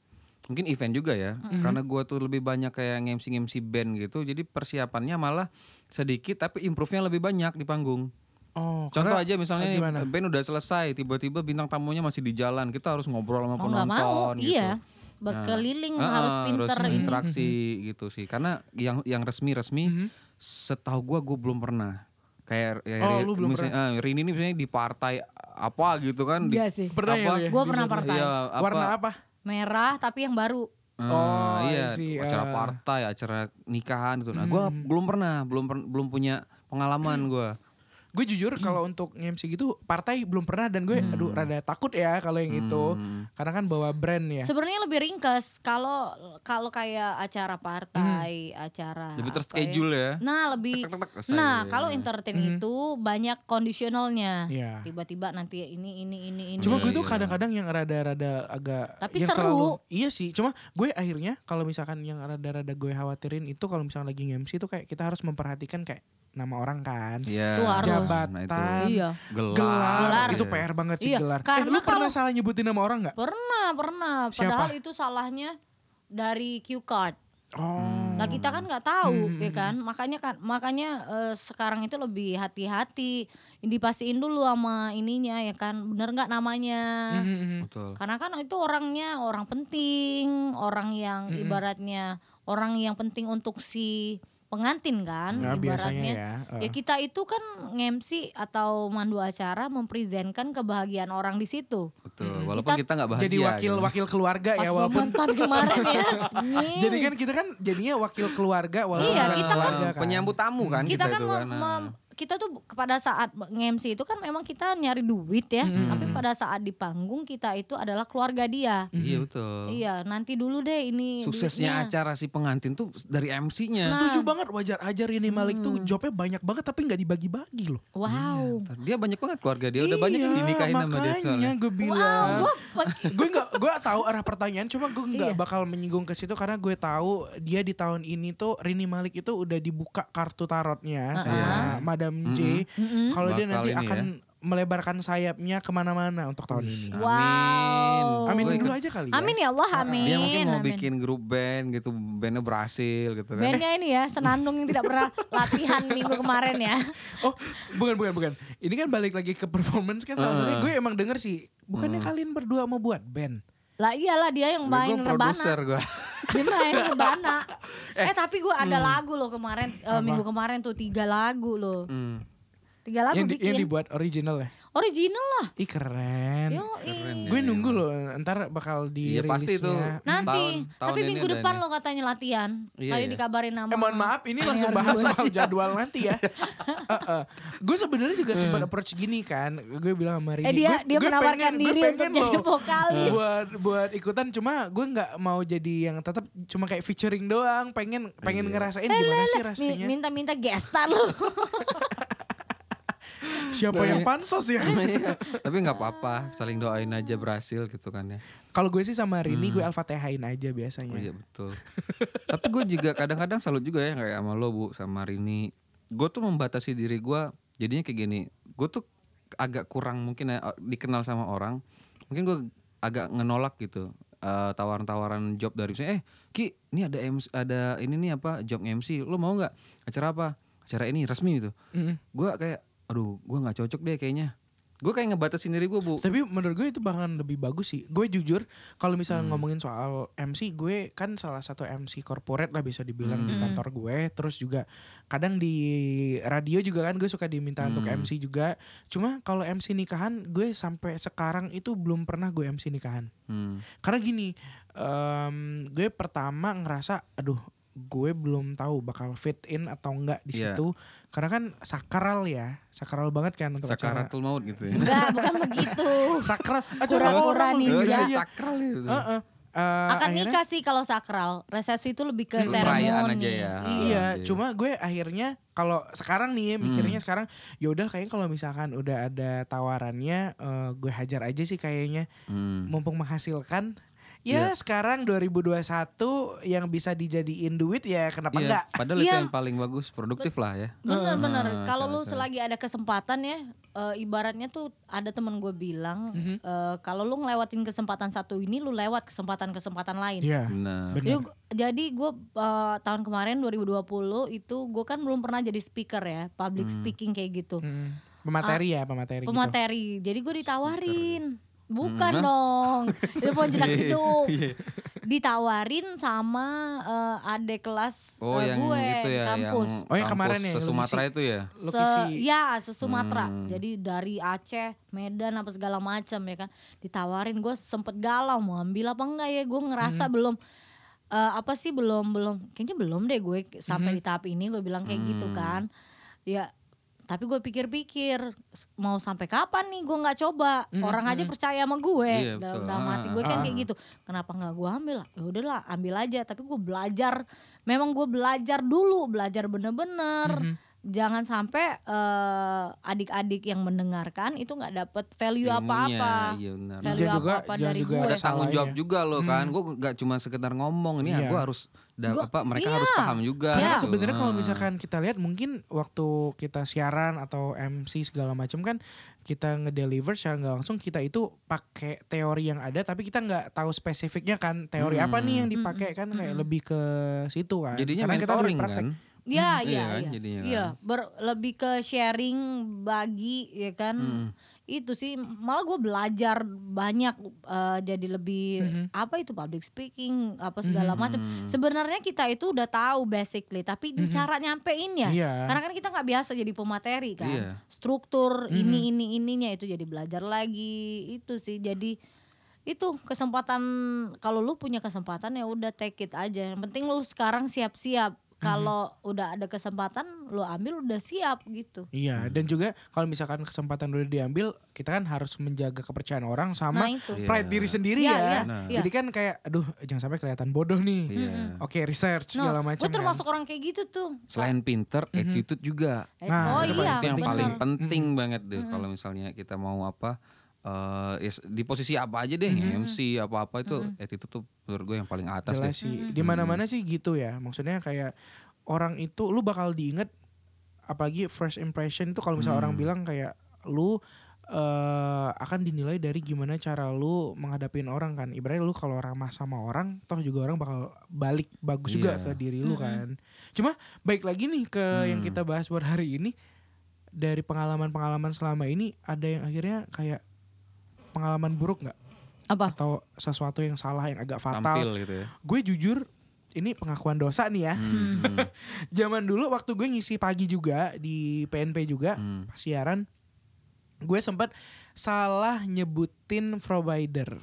[SPEAKER 2] mungkin event juga ya.
[SPEAKER 1] Mm-hmm.
[SPEAKER 2] Karena gua tuh lebih banyak kayak MC MC band gitu. Jadi persiapannya malah sedikit tapi improve-nya lebih banyak di panggung.
[SPEAKER 1] Oh,
[SPEAKER 2] Contoh
[SPEAKER 1] karena-
[SPEAKER 2] aja misalnya nih,
[SPEAKER 1] gimana?
[SPEAKER 2] band udah selesai, tiba-tiba bintang tamunya masih di jalan, kita harus ngobrol sama
[SPEAKER 3] mau Oh, nggak
[SPEAKER 2] penonton
[SPEAKER 3] mau
[SPEAKER 2] gitu.
[SPEAKER 3] iya berkeliling
[SPEAKER 2] Ah,
[SPEAKER 3] harus
[SPEAKER 2] ah,
[SPEAKER 3] pinter
[SPEAKER 2] harus
[SPEAKER 3] ini Mm-hmm.
[SPEAKER 2] interaksi gitu sih. Karena yang yang resmi-resmi
[SPEAKER 1] Mm-hmm.
[SPEAKER 2] setahu gua gua belum pernah. Kayak ya,
[SPEAKER 1] Oh,
[SPEAKER 2] Ri-
[SPEAKER 1] lu belum
[SPEAKER 2] misalnya, ah, Rini ini misalnya di partai apa gitu kan di-
[SPEAKER 3] Iya sih.
[SPEAKER 1] Pernah ya
[SPEAKER 2] apa?
[SPEAKER 1] lu ya?
[SPEAKER 3] Gue pernah partai
[SPEAKER 2] Iya, apa?
[SPEAKER 1] Warna apa?
[SPEAKER 3] merah tapi yang baru
[SPEAKER 2] Ah,
[SPEAKER 1] Oh, I
[SPEAKER 2] iya,
[SPEAKER 1] see. Mm-hmm.
[SPEAKER 2] acara
[SPEAKER 1] Ah.
[SPEAKER 2] partai, acara nikahan gitu. Nah, gua belum pernah, belum per- belum punya pengalaman gua.
[SPEAKER 1] Gue jujur kalau untuk MC gitu partai belum pernah dan gue
[SPEAKER 3] Hmm.
[SPEAKER 1] aduh rada takut ya kalau yang itu.
[SPEAKER 2] Hmm.
[SPEAKER 1] Karena kan bawa brand ya.
[SPEAKER 3] sebenarnya lebih ringkas kalau kalau kayak acara partai acara
[SPEAKER 2] Hmm. Lebih
[SPEAKER 3] apa ya.
[SPEAKER 2] terschedule ya. Hmm.
[SPEAKER 3] nah lebih
[SPEAKER 2] Tek, tek, tek, selesai. gitu.
[SPEAKER 3] nah kalau entertain itu banyak kondisionalnya
[SPEAKER 1] Iya.
[SPEAKER 3] tiba-tiba nanti ini ini ini ini
[SPEAKER 1] Cuma gue
[SPEAKER 2] Iya,
[SPEAKER 1] tuh kan.
[SPEAKER 2] iya.
[SPEAKER 1] kadang-kadang yang rada-rada agak
[SPEAKER 3] Tapi
[SPEAKER 1] yang
[SPEAKER 3] seru.
[SPEAKER 1] Iya sih, cuma gue akhirnya kalau misalkan yang rada-rada gue khawatirin itu kalau misalnya lagi MC tuh kayak kita harus memperhatikan kayak nama orang kan.
[SPEAKER 2] Iya.
[SPEAKER 3] Itu harus.
[SPEAKER 2] Nah, itu.
[SPEAKER 1] Jabatan.
[SPEAKER 3] iya
[SPEAKER 2] Gelar,
[SPEAKER 1] Gelar, itu
[SPEAKER 2] Iya.
[SPEAKER 1] PR banget sih
[SPEAKER 3] Iya,
[SPEAKER 1] gelar. Eh,
[SPEAKER 3] karena
[SPEAKER 1] lu pernah
[SPEAKER 3] kalau-
[SPEAKER 1] salah nyebutin nama orang nggak?
[SPEAKER 3] pernah pernah padahal itu salahnya dari cue card
[SPEAKER 1] Oh.
[SPEAKER 3] Nah kita kan nggak tahu
[SPEAKER 1] Hmm,
[SPEAKER 3] ya kan makanya kan makanya eh, sekarang itu lebih hati-hati dipastiin dulu sama ininya ya kan bener nggak namanya
[SPEAKER 1] Mhm.
[SPEAKER 2] Betul.
[SPEAKER 3] karena kan itu orangnya orang penting orang yang
[SPEAKER 1] Hmm,
[SPEAKER 3] ibaratnya orang yang penting untuk si pengantin kan
[SPEAKER 1] Nah, biasanya
[SPEAKER 3] ibaratnya
[SPEAKER 1] ya. eh.
[SPEAKER 3] Ya kita itu kan ngemsi atau mandu acara mempresentkan kebahagiaan orang di situ.
[SPEAKER 2] Betul. Walaupun
[SPEAKER 3] Kita
[SPEAKER 2] kita nggak bahagia.
[SPEAKER 1] Jadi wakil
[SPEAKER 2] gitu.
[SPEAKER 1] wakil keluarga
[SPEAKER 3] Pas
[SPEAKER 1] ya
[SPEAKER 3] gua
[SPEAKER 1] walaupun
[SPEAKER 3] mantan kemarin ya. Nying.
[SPEAKER 1] Jadi kan kita kan jadinya wakil keluarga walaupun
[SPEAKER 3] Iya,
[SPEAKER 1] bukan
[SPEAKER 3] kita kan-
[SPEAKER 1] keluarga kan.
[SPEAKER 2] penyambut tamu kan
[SPEAKER 3] kita, kan
[SPEAKER 2] itu
[SPEAKER 3] mem- mem- kita tuh bu- pada saat nge-MC itu kan memang kita nyari duit ya
[SPEAKER 2] Hmm.
[SPEAKER 3] tapi pada saat di panggung kita itu adalah keluarga dia
[SPEAKER 2] Iya betul.
[SPEAKER 3] iya nanti dulu deh ini
[SPEAKER 2] Suksesnya
[SPEAKER 3] duitnya. Nah.
[SPEAKER 2] acara si pengantin tuh dari MC-nya.
[SPEAKER 1] Setuju
[SPEAKER 3] Ah.
[SPEAKER 1] banget wajar aja Rini Malik tuh
[SPEAKER 3] Hmm.
[SPEAKER 1] jobnya banyak banget tapi nggak dibagi-bagi loh.
[SPEAKER 3] wow
[SPEAKER 2] Dia banyak banget keluarga dia, udah banyak yang
[SPEAKER 1] Iya,
[SPEAKER 2] dinikahin sama dia
[SPEAKER 1] makanya
[SPEAKER 2] soalnya.
[SPEAKER 1] gue bilang.
[SPEAKER 2] Iya.
[SPEAKER 1] gue nggak gue tahu arah pertanyaan cuma gue
[SPEAKER 3] Iya.
[SPEAKER 1] nggak bakal menyinggung ke situ karena gue tahu dia di tahun ini tuh Rini Malik itu udah dibuka kartu tarotnya sama Madam J. Kalau dia
[SPEAKER 2] Bakal
[SPEAKER 3] Hmm.
[SPEAKER 1] nanti
[SPEAKER 2] ini ya.
[SPEAKER 1] akan melebarkan sayapnya kemana-mana untuk tahun ini.
[SPEAKER 3] Wow.
[SPEAKER 1] Amin
[SPEAKER 2] Gua
[SPEAKER 1] dulu
[SPEAKER 2] ikut.
[SPEAKER 1] aja kali ya.
[SPEAKER 3] Amin ya Allah, amin.
[SPEAKER 2] Dia mungkin mau
[SPEAKER 3] amin.
[SPEAKER 2] bikin grup band gitu, bandnya berhasil gitu kan.
[SPEAKER 3] Bandnya ini ya, Senandung yang tidak pernah latihan minggu kemarin ya.
[SPEAKER 1] Oh, bukan bukan bukan. Ini kan balik lagi ke performance kan salah
[SPEAKER 2] Ah.
[SPEAKER 1] satunya gue emang denger sih. Bukannya kalian berdua mau buat band?
[SPEAKER 3] Lah iyalah dia yang
[SPEAKER 2] gue
[SPEAKER 3] main
[SPEAKER 2] produser gue.
[SPEAKER 3] rebana. Dia main rebana. Eh, tapi gue ada
[SPEAKER 2] Hmm.
[SPEAKER 3] lagu loh kemarin, eh, minggu kemarin tuh tiga lagu loh.
[SPEAKER 2] Mm.
[SPEAKER 3] Tiga lagu
[SPEAKER 1] yang, di-
[SPEAKER 3] bikin.
[SPEAKER 1] yang dibuat original ya.
[SPEAKER 3] Original lah.
[SPEAKER 1] Ih keren. ya.
[SPEAKER 3] Yoi.
[SPEAKER 1] Gue nunggu loh ntar bakal di
[SPEAKER 2] Iya pasti itu.
[SPEAKER 3] Nanti,
[SPEAKER 2] Tahun- tahun
[SPEAKER 3] tapi
[SPEAKER 2] ini
[SPEAKER 3] minggu
[SPEAKER 2] ada
[SPEAKER 3] depan
[SPEAKER 2] nih.
[SPEAKER 3] lo katanya latihan.
[SPEAKER 2] Iya,
[SPEAKER 3] Tadi
[SPEAKER 2] iya.
[SPEAKER 3] dikabarin nama.
[SPEAKER 1] Eh mohon maaf ini langsung bahas soal jadwal nanti ya. Gue sebenarnya
[SPEAKER 2] Eh.
[SPEAKER 1] juga sempat approach gini kan. Gue bilang sama Rini.
[SPEAKER 3] Eh, dia-
[SPEAKER 1] "Gue-
[SPEAKER 3] dia
[SPEAKER 1] gue
[SPEAKER 3] menawarkan
[SPEAKER 1] pengen- gue
[SPEAKER 3] diri untuk
[SPEAKER 1] pengen
[SPEAKER 3] jadi
[SPEAKER 1] loh Eh,
[SPEAKER 3] vokalis."
[SPEAKER 1] Buat buat ikutan cuma gue nggak mau jadi yang tetap cuma kayak featuring doang. Pengen pengen
[SPEAKER 2] Iya.
[SPEAKER 1] ngerasain gimana sih
[SPEAKER 3] Mi-
[SPEAKER 1] rasanya.
[SPEAKER 3] Minta-minta gestan lo.
[SPEAKER 1] Siapa
[SPEAKER 2] Nah,
[SPEAKER 1] yang pansos ya?
[SPEAKER 2] Iya. Tapi nggak apa-apa, saling doain aja berhasil gitu kan ya.
[SPEAKER 1] Kalau gue sih sama Rini gue alfatehain aja biasanya.
[SPEAKER 2] Hmm. Oh iya betul. Tapi gue juga kadang-kadang salut juga ya kayak sama lo bu, sama Rini. Gue tuh membatasi diri gue. Jadinya kayak gini. Gue tuh agak kurang mungkin ya, dikenal sama orang. Mungkin gue agak ngenolak gitu eh, tawaran-tawaran job dari misalnya, eh Ki, ini ada MC, ada ini nih apa job MC, lo mau nggak acara apa? Acara ini resmi gitu. Gue kayak, aduh, gue nggak cocok deh kayaknya. Gue kayak ngebatasin diri gue bu.
[SPEAKER 1] Tapi menurut gue itu bahkan lebih bagus sih. Gue jujur kalau misalnya
[SPEAKER 2] Hmm.
[SPEAKER 1] ngomongin soal MC, gue kan salah satu MC corporate lah bisa dibilang di
[SPEAKER 2] Hmm.
[SPEAKER 1] kantor gue. Terus juga kadang di radio juga kan gue suka diminta
[SPEAKER 2] Hmm.
[SPEAKER 1] untuk MC juga. Cuma kalau MC nikahan, gue sampai sekarang itu belum pernah gue MC nikahan.
[SPEAKER 2] Hmm.
[SPEAKER 1] Karena gini, em, gue pertama ngerasa, aduh, gue belum tahu bakal fit in atau enggak di
[SPEAKER 2] Iya.
[SPEAKER 1] situ. Karena kan sakral ya, sakral banget kan untuk acara.
[SPEAKER 2] Sakaratul maut gitu ya.
[SPEAKER 3] Enggak, bukan
[SPEAKER 1] Eh,
[SPEAKER 3] begitu.
[SPEAKER 1] Sakral, acara
[SPEAKER 3] Kura-kura
[SPEAKER 1] orang
[SPEAKER 3] ninja.
[SPEAKER 1] loh, iya, iya.
[SPEAKER 2] Sakral ya. gitu.
[SPEAKER 1] Heeh. Eh,
[SPEAKER 3] Akan
[SPEAKER 1] akhirnya-
[SPEAKER 3] nikah sih kalau sakral. Resepsi itu lebih ke
[SPEAKER 2] Hmm,
[SPEAKER 3] seremoni.
[SPEAKER 2] perayaan aja ya.
[SPEAKER 1] Iya,
[SPEAKER 2] Iya. Hmm.
[SPEAKER 1] cuma gue akhirnya kalau sekarang nih mikirnya sekarang ya udah kayaknya kalau misalkan udah ada tawarannya eh, gue hajar aja sih kayaknya
[SPEAKER 2] Hmm. Iya.
[SPEAKER 1] mumpung menghasilkan. Ya sekarang 2021 yang bisa dijadiin duit ya kenapa
[SPEAKER 2] Iya,
[SPEAKER 1] enggak?
[SPEAKER 2] Padahal
[SPEAKER 3] Iya.
[SPEAKER 2] itu yang paling bagus, produktif lah ya.
[SPEAKER 1] Eh,
[SPEAKER 3] Bener-bener.
[SPEAKER 2] Ah,
[SPEAKER 3] kalau lu
[SPEAKER 2] cara-cara.
[SPEAKER 3] selagi ada kesempatan ya, eh, ibaratnya tuh ada temen gue bilang,
[SPEAKER 1] Mhm.
[SPEAKER 3] eh, kalau lu ngelewatin kesempatan satu ini, lu lewat kesempatan-kesempatan lain.
[SPEAKER 1] Iya. Benar.
[SPEAKER 2] Benar.
[SPEAKER 3] Jadi, gu- jadi gue eh, tahun kemarin 2020 itu gue kan belum pernah jadi speaker ya, public
[SPEAKER 2] Hmm.
[SPEAKER 3] speaking kayak gitu.
[SPEAKER 1] Mm. Pemateri ya, pemateri. gitu.
[SPEAKER 3] Pemateri. Jadi gue ditawarin. Bukan
[SPEAKER 2] Hmm,
[SPEAKER 3] dong. Itu pun
[SPEAKER 2] Iya,
[SPEAKER 3] cedak jeduk. Ditawarin sama eh, adik kelas
[SPEAKER 2] Oh,
[SPEAKER 3] eh,
[SPEAKER 2] yang
[SPEAKER 3] gue
[SPEAKER 2] itu ya,
[SPEAKER 3] kampus.
[SPEAKER 2] yang
[SPEAKER 1] Oh, yang kemarin ya,
[SPEAKER 2] kampus
[SPEAKER 1] yang lu
[SPEAKER 2] Sumatera itu ya.
[SPEAKER 1] Lo
[SPEAKER 3] Se
[SPEAKER 1] kisi-
[SPEAKER 3] ya se Sumatera.
[SPEAKER 2] Hmm.
[SPEAKER 3] Jadi dari Aceh, Medan apa segala macam ya kan. Ditawarin gue sempet galau mau ambil apa enggak ya. Gue ngerasa
[SPEAKER 2] Hmm.
[SPEAKER 3] belum eh, apa sih belum belum kayaknya belum deh gue
[SPEAKER 2] Hmm.
[SPEAKER 3] sampai di tahap ini gue bilang kayak gitu kan. Ya tapi gue pikir-pikir s- mau sampai kapan nih gue nggak coba orang aja percaya sama gue
[SPEAKER 2] Hmm, Iya,
[SPEAKER 3] dalam
[SPEAKER 2] betul.
[SPEAKER 3] dalam hati gue kan kayak gitu kenapa nggak gue ambil lah ya udahlah ambil aja tapi gue belajar memang gue belajar dulu belajar bener-bener
[SPEAKER 2] Mhm.
[SPEAKER 3] jangan sampai eh, adik-adik yang mendengarkan itu nggak dapet value
[SPEAKER 2] Ilmunya,
[SPEAKER 3] apa-apa
[SPEAKER 2] Iya benar.
[SPEAKER 1] Jangan
[SPEAKER 3] value
[SPEAKER 1] juga-
[SPEAKER 3] apa-apa
[SPEAKER 1] jangan
[SPEAKER 3] dari ya.
[SPEAKER 1] juga
[SPEAKER 3] gue
[SPEAKER 2] Ada tanggung
[SPEAKER 1] salahnya.
[SPEAKER 2] jawab juga lo kan. Gue gak cuma sekedar ngomong ini
[SPEAKER 1] Hmm. Iya.
[SPEAKER 2] gue harus da-
[SPEAKER 3] Gua-
[SPEAKER 2] apa mereka
[SPEAKER 3] iya.
[SPEAKER 2] harus paham juga.
[SPEAKER 1] Karena
[SPEAKER 3] Iya.
[SPEAKER 2] gitu.
[SPEAKER 1] sebenarnya kalau
[SPEAKER 2] Ah.
[SPEAKER 1] misalkan kita lihat mungkin waktu kita siaran atau MC segala macam kan kita ngedeliver secara nggak langsung kita itu pakai teori yang ada tapi kita nggak tahu spesifiknya kan teori apa nih
[SPEAKER 3] Hmm.
[SPEAKER 1] yang dipakai kan kayak lebih ke situ kan.
[SPEAKER 2] jadinya
[SPEAKER 1] Karena kita
[SPEAKER 2] mentoring
[SPEAKER 1] lebih praktek.
[SPEAKER 2] kan.
[SPEAKER 3] ya
[SPEAKER 2] Hmm,
[SPEAKER 3] ya
[SPEAKER 2] iya kan,
[SPEAKER 3] ya,
[SPEAKER 2] jadinya kan.
[SPEAKER 3] Iya, ber- lebih ke sharing bagi ya kan
[SPEAKER 1] Hmm.
[SPEAKER 2] Mhm. Hmm.
[SPEAKER 3] itu sih malah gue belajar banyak eh, jadi lebih
[SPEAKER 1] Mhm.
[SPEAKER 3] apa itu public speaking apa segala macam sebenarnya kita itu udah tahu basically tapi cara nyampeinnya
[SPEAKER 1] Mhm. Iya.
[SPEAKER 3] karena kan kita nggak biasa jadi pemateri kan
[SPEAKER 2] Iya.
[SPEAKER 3] struktur ini
[SPEAKER 1] Mhm.
[SPEAKER 3] ini ininya itu jadi belajar lagi itu sih jadi itu kesempatan kalau lu punya kesempatan ya udah take it aja yang penting lu sekarang siap-siap
[SPEAKER 1] Mhm.
[SPEAKER 3] kalau udah ada kesempatan lu ambil udah siap gitu
[SPEAKER 1] Iya, dan juga kalau misalkan kesempatan udah diambil, kita kan harus menjaga kepercayaan orang sama
[SPEAKER 3] Nah, itu.
[SPEAKER 1] pride
[SPEAKER 2] Iya.
[SPEAKER 1] diri sendiri ya.
[SPEAKER 3] Iya, iya, Nah. iya.
[SPEAKER 1] Jadi kan kayak aduh, jangan sampai kelihatan bodoh nih.
[SPEAKER 2] Iya.
[SPEAKER 1] Oke, research
[SPEAKER 3] No,
[SPEAKER 1] segala macam.
[SPEAKER 3] gue
[SPEAKER 1] kan.
[SPEAKER 3] Nah, termasuk orang kayak gitu tuh
[SPEAKER 2] Selain pinter,
[SPEAKER 1] Hmm.
[SPEAKER 2] attitude juga.
[SPEAKER 3] Eh,
[SPEAKER 1] Nah,
[SPEAKER 3] oh
[SPEAKER 2] itu
[SPEAKER 3] iya
[SPEAKER 2] itu yang
[SPEAKER 3] bener.
[SPEAKER 2] paling penting banget deh kalau misalnya kita mau apa eh, ya s- di posisi apa aja deh MC apa-apa itu attitude tuh menurut gue yang paling atas
[SPEAKER 1] jelas
[SPEAKER 2] deh.
[SPEAKER 1] sih di mana-mana sih gitu ya maksudnya kayak orang itu lu bakal diinget apalagi first impression tuh kalau misalnya orang bilang kayak lu eh, akan dinilai dari gimana cara lu menghadapin orang kan. Ibaratnya lu kalau ramah sama orang, toh juga orang bakal balik bagus juga
[SPEAKER 2] Iya.
[SPEAKER 1] ke diri lu kan. Cuma baik lagi nih ke yang kita bahas buat hari ini dari pengalaman-pengalaman selama ini ada yang akhirnya kayak pengalaman buruk nggak
[SPEAKER 3] Apa?
[SPEAKER 1] atau sesuatu yang salah yang agak fatal
[SPEAKER 2] tampil gitu ya. Hmm,
[SPEAKER 1] gue jujur ini pengakuan dosa nih ya. Zaman dulu waktu gue ngisi pagi juga di PNP juga
[SPEAKER 2] Hmm.
[SPEAKER 1] pas siaran, gue sempat salah nyebutin provider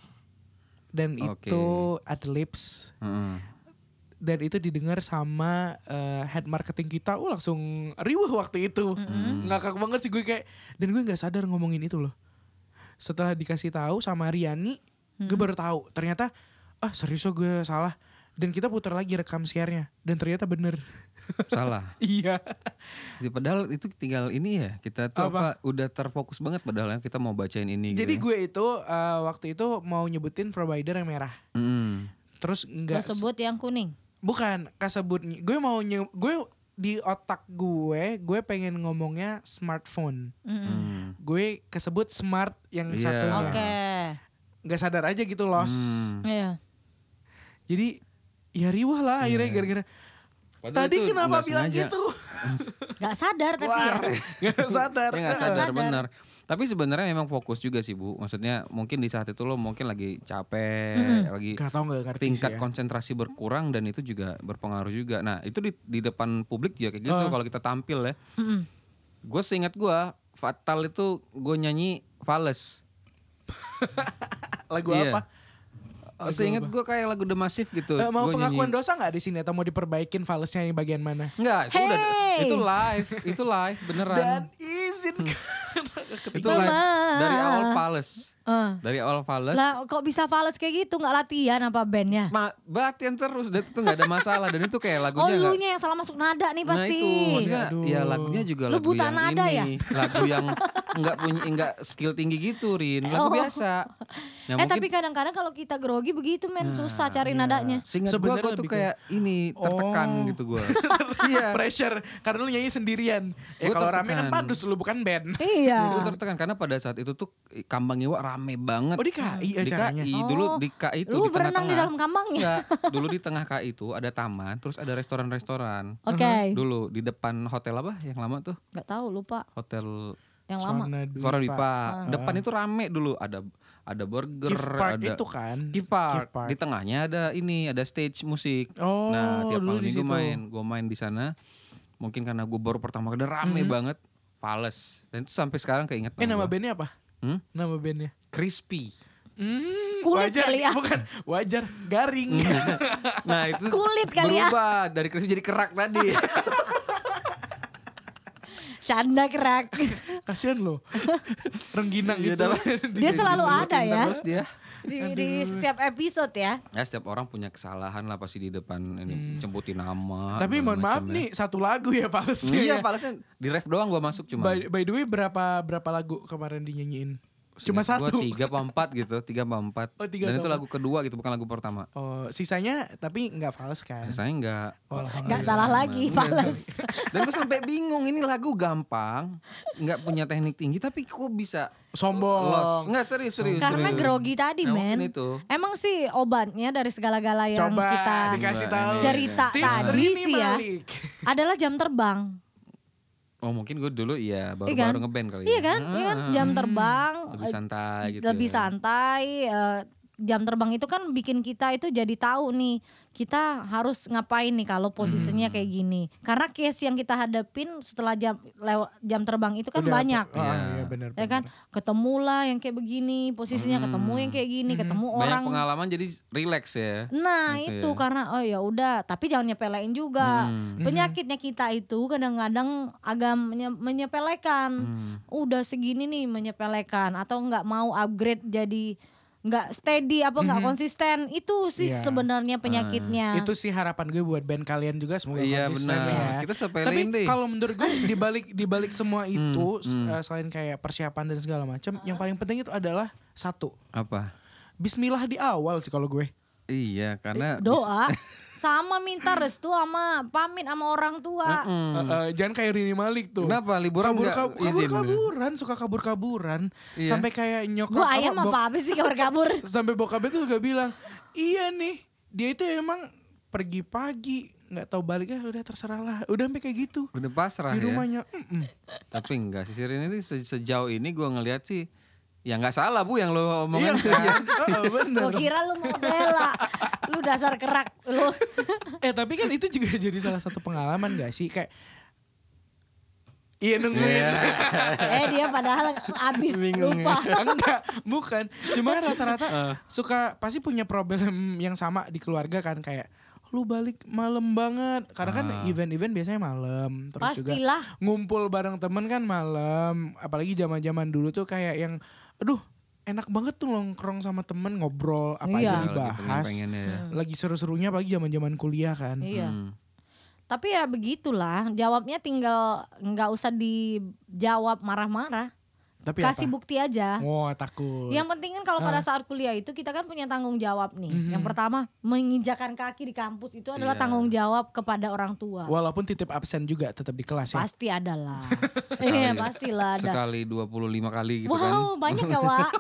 [SPEAKER 1] dan
[SPEAKER 2] Oke.
[SPEAKER 1] itu Adlibs
[SPEAKER 2] Heeh.
[SPEAKER 1] dan itu didengar sama eh, head marketing kita, oh langsung riuh waktu itu
[SPEAKER 3] Hmm.
[SPEAKER 1] ngakak banget sih gue kayak dan gue nggak sadar ngomongin itu loh. Setelah dikasih tahu sama Riani, gue
[SPEAKER 3] Hmm.
[SPEAKER 1] baru tahu ternyata ah serius oh, gue salah dan kita putar lagi rekam siarnya dan ternyata bener
[SPEAKER 2] Salah.
[SPEAKER 1] iya
[SPEAKER 2] Ya, padahal itu tinggal ini ya kita tuh apa? udah terfokus banget padahal ya, kita mau bacain ini.
[SPEAKER 3] Iya.
[SPEAKER 1] jadi
[SPEAKER 2] gitu.
[SPEAKER 1] gue itu eh, waktu itu mau nyebutin provider yang merah
[SPEAKER 2] ya. Mm.
[SPEAKER 1] terus
[SPEAKER 3] Gua
[SPEAKER 1] enggak
[SPEAKER 3] sebut yang kuning.
[SPEAKER 1] bukan kasebut gue mau nye, gue di otak gue gue pengen ngomongnya smartphone
[SPEAKER 3] Mm-mm.
[SPEAKER 2] Mm.
[SPEAKER 1] gue kesebut smart yang
[SPEAKER 2] Iya.
[SPEAKER 1] satunya
[SPEAKER 3] Oke.
[SPEAKER 1] nggak sadar aja gitu los
[SPEAKER 2] Mm.
[SPEAKER 3] Iya.
[SPEAKER 1] jadi ya riwah lah akhirnya gara-gara
[SPEAKER 2] Iya. Padahal
[SPEAKER 1] tadi
[SPEAKER 2] itu
[SPEAKER 1] kenapa
[SPEAKER 2] nggak
[SPEAKER 1] bilang
[SPEAKER 2] sengaja.
[SPEAKER 1] gitu
[SPEAKER 3] Gak sadar tapi ya.
[SPEAKER 1] nggak sadar
[SPEAKER 2] Dia Iya, nggak
[SPEAKER 3] Nggak
[SPEAKER 2] sadar
[SPEAKER 3] sadar.
[SPEAKER 2] benar. Tapi sebenarnya memang fokus juga sih bu. Maksudnya mungkin di saat itu lo mungkin lagi capek, lagi
[SPEAKER 1] Nggak tahu nggak ngerti sih
[SPEAKER 2] tingkat
[SPEAKER 1] ya.
[SPEAKER 2] konsentrasi berkurang dan itu juga berpengaruh juga. Nah itu di, di depan publik juga kayak gitu
[SPEAKER 1] Oh.
[SPEAKER 2] kalau kita tampil ya.
[SPEAKER 3] Mm-mm.
[SPEAKER 2] Gue seingat gue fatal itu gue nyanyi fales.
[SPEAKER 1] lagu
[SPEAKER 2] Iya.
[SPEAKER 1] apa
[SPEAKER 2] Eh, Seingat gue kayak lagu The Massive gitu.
[SPEAKER 1] Eh, mau
[SPEAKER 2] Gua
[SPEAKER 1] pengakuan
[SPEAKER 2] nyanyi.
[SPEAKER 1] dosa nggak di sini atau mau diperbaikin falesnya ini bagian mana
[SPEAKER 2] Enggak, itu udah
[SPEAKER 3] Hey!
[SPEAKER 2] itu live, itu live beneran.
[SPEAKER 1] dan izinkan
[SPEAKER 2] itu live
[SPEAKER 3] Mama.
[SPEAKER 2] dari awal fales.
[SPEAKER 3] Eh.
[SPEAKER 2] Dari awal fales.
[SPEAKER 3] Lah kok bisa fals kayak gitu nggak latihan apa bandnya?
[SPEAKER 2] Ma latihan terus dan itu nggak ada masalah dan itu kayak
[SPEAKER 3] Oh
[SPEAKER 2] lagunya nggak-
[SPEAKER 3] lu nya yang salah masuk nada nih
[SPEAKER 2] nah
[SPEAKER 3] pasti.
[SPEAKER 2] itu maksudnya
[SPEAKER 1] Aduh.
[SPEAKER 2] ya lagunya juga
[SPEAKER 3] Lu
[SPEAKER 2] lagu
[SPEAKER 3] buta
[SPEAKER 2] yang
[SPEAKER 3] nada
[SPEAKER 2] ini
[SPEAKER 3] ya?
[SPEAKER 2] lagu yang nggak punya nggak skill tinggi gitu Rin lagu
[SPEAKER 3] Oh.
[SPEAKER 2] biasa nah,
[SPEAKER 3] eh tapi kadang-kadang kalau kita grogi begitu men susah cari
[SPEAKER 2] iya.
[SPEAKER 3] nadanya.
[SPEAKER 2] sehingga gue
[SPEAKER 1] Sebenarnya
[SPEAKER 2] tuh
[SPEAKER 1] lebih
[SPEAKER 2] kayak ini tertekan
[SPEAKER 1] Oh.
[SPEAKER 2] gitu gue iya
[SPEAKER 1] pressure karena lu nyanyi sendirian ya
[SPEAKER 2] Gua
[SPEAKER 1] kalau rame kan
[SPEAKER 2] tertekan.
[SPEAKER 1] padus lu bukan band
[SPEAKER 2] gue
[SPEAKER 3] Iya.
[SPEAKER 2] tertekan karena pada saat itu tuh Kambang Iwa rame banget
[SPEAKER 1] oh di KI
[SPEAKER 2] di
[SPEAKER 1] acaranya
[SPEAKER 2] KI
[SPEAKER 3] Oh.
[SPEAKER 2] dulu di KI itu
[SPEAKER 3] Lu
[SPEAKER 2] di
[SPEAKER 3] berenang di
[SPEAKER 2] tengah-tengah.
[SPEAKER 3] dalam ya? kambangnya?
[SPEAKER 2] Enggak, dulu di tengah KI itu ada taman terus ada restoran-restoran
[SPEAKER 3] Oke.
[SPEAKER 2] dulu di depan hotel apa yang lama tuh
[SPEAKER 3] Nggak tahu lupa
[SPEAKER 2] hotel
[SPEAKER 3] yang lama.
[SPEAKER 1] Suara Dwi
[SPEAKER 2] Suara
[SPEAKER 1] Pak.
[SPEAKER 2] Dipa. Depan itu rame dulu ada ada burger,
[SPEAKER 1] Ah. Gift Park
[SPEAKER 2] ada
[SPEAKER 1] itu kan
[SPEAKER 2] Gift Park.
[SPEAKER 1] Gift Park.
[SPEAKER 2] Di tengahnya ada ini, ada stage musik.
[SPEAKER 1] Oh,
[SPEAKER 2] nah, tiap
[SPEAKER 1] dulu
[SPEAKER 2] malam
[SPEAKER 1] di
[SPEAKER 2] minggu
[SPEAKER 1] situ.
[SPEAKER 2] main, gue main di sana. Mungkin karena gue baru pertama kali dan rame banget, fales. Dan itu sampai sekarang keinget
[SPEAKER 1] eh Mm-hmm. nama
[SPEAKER 2] gua.
[SPEAKER 1] bandnya apa
[SPEAKER 2] Hmm?
[SPEAKER 1] nama bandnya
[SPEAKER 2] Crispy.
[SPEAKER 1] Hmm,
[SPEAKER 3] Kulit
[SPEAKER 1] wajar,
[SPEAKER 3] kali ya.
[SPEAKER 1] bukan wajar garing.
[SPEAKER 2] Nah, itu
[SPEAKER 3] Kulit kali ya.
[SPEAKER 2] berubah dari crispy jadi kerak tadi.
[SPEAKER 3] Canda kerak.
[SPEAKER 1] Kasihan loh, rengginang gitu.
[SPEAKER 2] Iya, dah.
[SPEAKER 3] dia selalu ada ya.
[SPEAKER 2] Terus dia.
[SPEAKER 3] Di, di setiap episode ya.
[SPEAKER 2] Ya setiap orang punya kesalahan lah pasti di depan ini cemputin nama.
[SPEAKER 1] Hmm. Tapi
[SPEAKER 2] segala
[SPEAKER 1] mohon maaf
[SPEAKER 2] macam ya.
[SPEAKER 1] nih, satu lagu ya palesnya.
[SPEAKER 2] Iya,
[SPEAKER 1] ya.
[SPEAKER 2] palesnya di ref doang gue masuk cuma.
[SPEAKER 1] By, by the way berapa berapa lagu kemarin dinyanyiin? Cuma
[SPEAKER 2] Seingat gua
[SPEAKER 1] satu.
[SPEAKER 2] tiga apa empat gitu tiga apa empat
[SPEAKER 1] Oh, tiga
[SPEAKER 2] dan
[SPEAKER 1] apa
[SPEAKER 2] itu lagu kedua gitu bukan lagu pertama
[SPEAKER 1] Oh, sisanya tapi nggak fals kan?
[SPEAKER 2] saya nggak
[SPEAKER 1] Oh, alhamdulillah.
[SPEAKER 2] Iya,
[SPEAKER 3] Nggak salah lagi fals.
[SPEAKER 2] dan gue sampai bingung ini lagu gampang nggak punya teknik tinggi tapi kok bisa los
[SPEAKER 1] Sombong.
[SPEAKER 2] nggak serius serius
[SPEAKER 3] Karena
[SPEAKER 2] serius.
[SPEAKER 3] grogi tadi
[SPEAKER 2] Nah,
[SPEAKER 3] men.
[SPEAKER 2] mungkin itu
[SPEAKER 3] Emang sih obatnya dari segala-gala yang
[SPEAKER 1] Coba
[SPEAKER 3] kita
[SPEAKER 1] dikasih
[SPEAKER 2] Coba,
[SPEAKER 1] tahu.
[SPEAKER 2] ini.
[SPEAKER 3] cerita
[SPEAKER 1] Tips
[SPEAKER 3] tadi
[SPEAKER 1] Rini
[SPEAKER 3] sih ya
[SPEAKER 1] Malik.
[SPEAKER 3] adalah jam terbang.
[SPEAKER 2] oh mungkin gue dulu iya baru
[SPEAKER 3] Iya kan?
[SPEAKER 2] baru ngeband kali
[SPEAKER 3] Iya
[SPEAKER 2] ya.
[SPEAKER 3] kan? Iya kan?
[SPEAKER 2] Ah,
[SPEAKER 3] Jam terbang
[SPEAKER 2] lebih
[SPEAKER 3] eh,
[SPEAKER 2] santai gitu
[SPEAKER 3] lebih santai eh, jam terbang itu kan bikin kita itu jadi tahu nih kita harus ngapain nih kalau
[SPEAKER 2] Hmm.
[SPEAKER 3] posisinya kayak gini. Karena case yang kita hadapin setelah jam lewa- jam terbang itu kan
[SPEAKER 1] Udah,
[SPEAKER 3] banyak.
[SPEAKER 1] Oh,
[SPEAKER 2] Iya.
[SPEAKER 1] iya benar.
[SPEAKER 3] Ya kan? Ketemulah yang kayak begini, posisinya ketemu yang kayak gini, ketemu
[SPEAKER 2] Hmm. banyak
[SPEAKER 3] orang
[SPEAKER 2] pengalaman jadi relax ya
[SPEAKER 3] Nah
[SPEAKER 2] Gitu
[SPEAKER 3] itu
[SPEAKER 2] ya. Hmm.
[SPEAKER 3] karena oh ya udah tapi jangan nyepelein juga penyakitnya kita itu kadang-kadang agak menye- menyepelekan
[SPEAKER 2] Hmm.
[SPEAKER 3] udah segini nih menyepelekan atau nggak mau upgrade jadi nggak steady apa nggak konsisten itu sih
[SPEAKER 1] Mhm. Iya.
[SPEAKER 2] Ah,
[SPEAKER 3] sebenarnya penyakitnya
[SPEAKER 1] Itu sih harapan gue buat band kalian juga semoga
[SPEAKER 2] Iya,
[SPEAKER 1] konsisten
[SPEAKER 2] benar.
[SPEAKER 1] ya.
[SPEAKER 2] Kita Hmm, sepelein
[SPEAKER 1] Tapi
[SPEAKER 2] deh.
[SPEAKER 1] kalau menurut gue di balik di balik semua itu s- eh, selain kayak persiapan dan segala macam, yang paling penting itu adalah satu.
[SPEAKER 2] apa
[SPEAKER 1] Bismillah di awal sih kalau gue.
[SPEAKER 2] iya karena
[SPEAKER 3] doa sama minta restu sama pamit sama orang tua.
[SPEAKER 2] Mm,
[SPEAKER 1] Eh, eh, jangan kayak Rini Malik tuh.
[SPEAKER 2] Hmm. Kenapa? Liburan
[SPEAKER 1] kabur,
[SPEAKER 2] nggak
[SPEAKER 1] kabur,
[SPEAKER 2] izin?
[SPEAKER 1] kaburan, suka kabur kaburan,
[SPEAKER 2] Iya.
[SPEAKER 1] sampai kayak nyokap
[SPEAKER 3] Gue ayam
[SPEAKER 1] bok-
[SPEAKER 3] apa habis sih kabar kabur.
[SPEAKER 1] sampai bokapnya tuh gak bilang, iya nih dia itu emang pergi pagi nggak tahu baliknya udah terserah lah, udah sampai kayak gitu
[SPEAKER 2] Udah
[SPEAKER 1] di
[SPEAKER 2] pasrah ya.
[SPEAKER 1] rumahnya. mm-mm.
[SPEAKER 2] Tapi enggak sih Sirin itu se- sejauh ini gua ngelihat sih ya nggak salah Bu yang lo
[SPEAKER 1] Iya
[SPEAKER 2] omongin.
[SPEAKER 1] kan? Oh, bener.
[SPEAKER 3] Gue kira lu mau bela. Lu dasar kerak lu.
[SPEAKER 1] Eh tapi kan itu juga jadi salah satu pengalaman gak sih kayak Iya nungguin
[SPEAKER 3] eh dia padahal abis
[SPEAKER 1] ya.
[SPEAKER 3] lupa.
[SPEAKER 1] Enggak, bukan. Cuma kan rata-rata suka pasti punya problem yang sama di keluarga kan kayak lu balik malam banget. Karena kan event-event biasanya malam. Terus juga
[SPEAKER 3] Pastilah.
[SPEAKER 1] ngumpul bareng temen kan malam. Apalagi zaman-zaman dulu tuh kayak yang aduh enak banget tuh nongkrong sama temen ngobrol apa
[SPEAKER 3] Iya.
[SPEAKER 1] aja
[SPEAKER 2] Lagi
[SPEAKER 1] dibahas.
[SPEAKER 2] pengen-pengennya gitu, ya.
[SPEAKER 1] Lagi seru-serunya apalagi zaman-zaman kuliah kan.
[SPEAKER 3] Iya.
[SPEAKER 2] Hmm.
[SPEAKER 3] Tapi ya begitulah, jawabnya tinggal nggak usah dijawab marah-marah.
[SPEAKER 1] Tapi apa?
[SPEAKER 3] Kasih
[SPEAKER 1] Ah.
[SPEAKER 3] bukti aja.
[SPEAKER 1] Wah, takut.
[SPEAKER 3] Yang penting kan kalau pada saat kuliah itu kita kan punya tanggung jawab nih.
[SPEAKER 1] Mhm.
[SPEAKER 3] Yang pertama, menginjakan kaki di kampus itu adalah
[SPEAKER 2] Iya.
[SPEAKER 3] tanggung jawab kepada orang tua.
[SPEAKER 1] Walaupun titip absen juga tetap di kelas ya.
[SPEAKER 3] Pasti adalah. Iya, pastilah ada.
[SPEAKER 2] Sekali 25 kali gitu kan.
[SPEAKER 3] wow, banyak gak, Wak?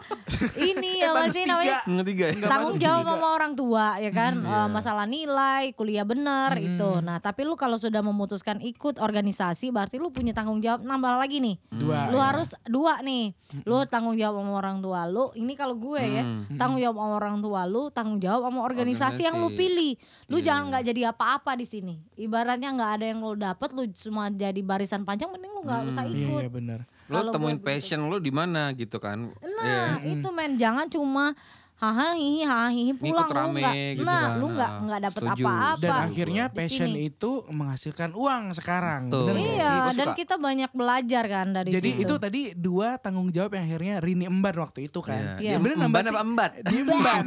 [SPEAKER 3] Ini ya
[SPEAKER 1] Minus
[SPEAKER 3] masih
[SPEAKER 1] Eh, tiga.
[SPEAKER 3] namanya
[SPEAKER 2] Ngetiga ya.
[SPEAKER 3] tanggung jawab sama orang tua ya kan
[SPEAKER 1] Hmm, iya.
[SPEAKER 3] Eh, masalah nilai kuliah bener itu nah tapi lu kalau sudah memutuskan ikut organisasi berarti lu punya tanggung jawab nambah lagi nih
[SPEAKER 1] Dua, Hmm.
[SPEAKER 3] lu
[SPEAKER 1] ya.
[SPEAKER 3] harus dua nih lu tanggung jawab sama orang tua lu ini kalau gue ya
[SPEAKER 1] Hmm.
[SPEAKER 3] tanggung jawab sama orang tua lu tanggung jawab sama organisasi, yang lu
[SPEAKER 2] Organisasi.
[SPEAKER 3] pilih lu
[SPEAKER 1] Iya,
[SPEAKER 3] jangan nggak jadi apa-apa di sini ibaratnya nggak ada yang lu dapet lu cuma jadi barisan panjang mending lu nggak usah
[SPEAKER 1] Iya,
[SPEAKER 3] ikut
[SPEAKER 1] iya benar.
[SPEAKER 2] Lo
[SPEAKER 3] Kalau
[SPEAKER 2] temuin
[SPEAKER 3] gua
[SPEAKER 2] passion lo di mana gitu kan. Iya.
[SPEAKER 3] Nah, itu men jangan cuma haha hihi haha hihi pulang lu
[SPEAKER 2] rame
[SPEAKER 3] nggak
[SPEAKER 2] gitu
[SPEAKER 3] nah
[SPEAKER 2] kan.
[SPEAKER 3] lu nggak
[SPEAKER 2] Nah,
[SPEAKER 3] nggak dapet
[SPEAKER 2] setuju.
[SPEAKER 3] apa-apa
[SPEAKER 1] Dan
[SPEAKER 2] Apa?
[SPEAKER 1] akhirnya
[SPEAKER 3] Di
[SPEAKER 1] passion
[SPEAKER 3] sini.
[SPEAKER 1] itu menghasilkan uang sekarang.
[SPEAKER 2] Betul.
[SPEAKER 1] Bener nggak
[SPEAKER 3] iya
[SPEAKER 1] sih?
[SPEAKER 2] gua
[SPEAKER 3] dan
[SPEAKER 2] suka.
[SPEAKER 3] kita banyak belajar kan dari
[SPEAKER 1] Jadi
[SPEAKER 3] situ.
[SPEAKER 1] itu tadi dua tanggung jawab yang akhirnya Rini emban waktu itu kan.
[SPEAKER 2] Iya.
[SPEAKER 1] Sebenarnya
[SPEAKER 2] Emban
[SPEAKER 1] nambah
[SPEAKER 2] apa embat?
[SPEAKER 1] di emban.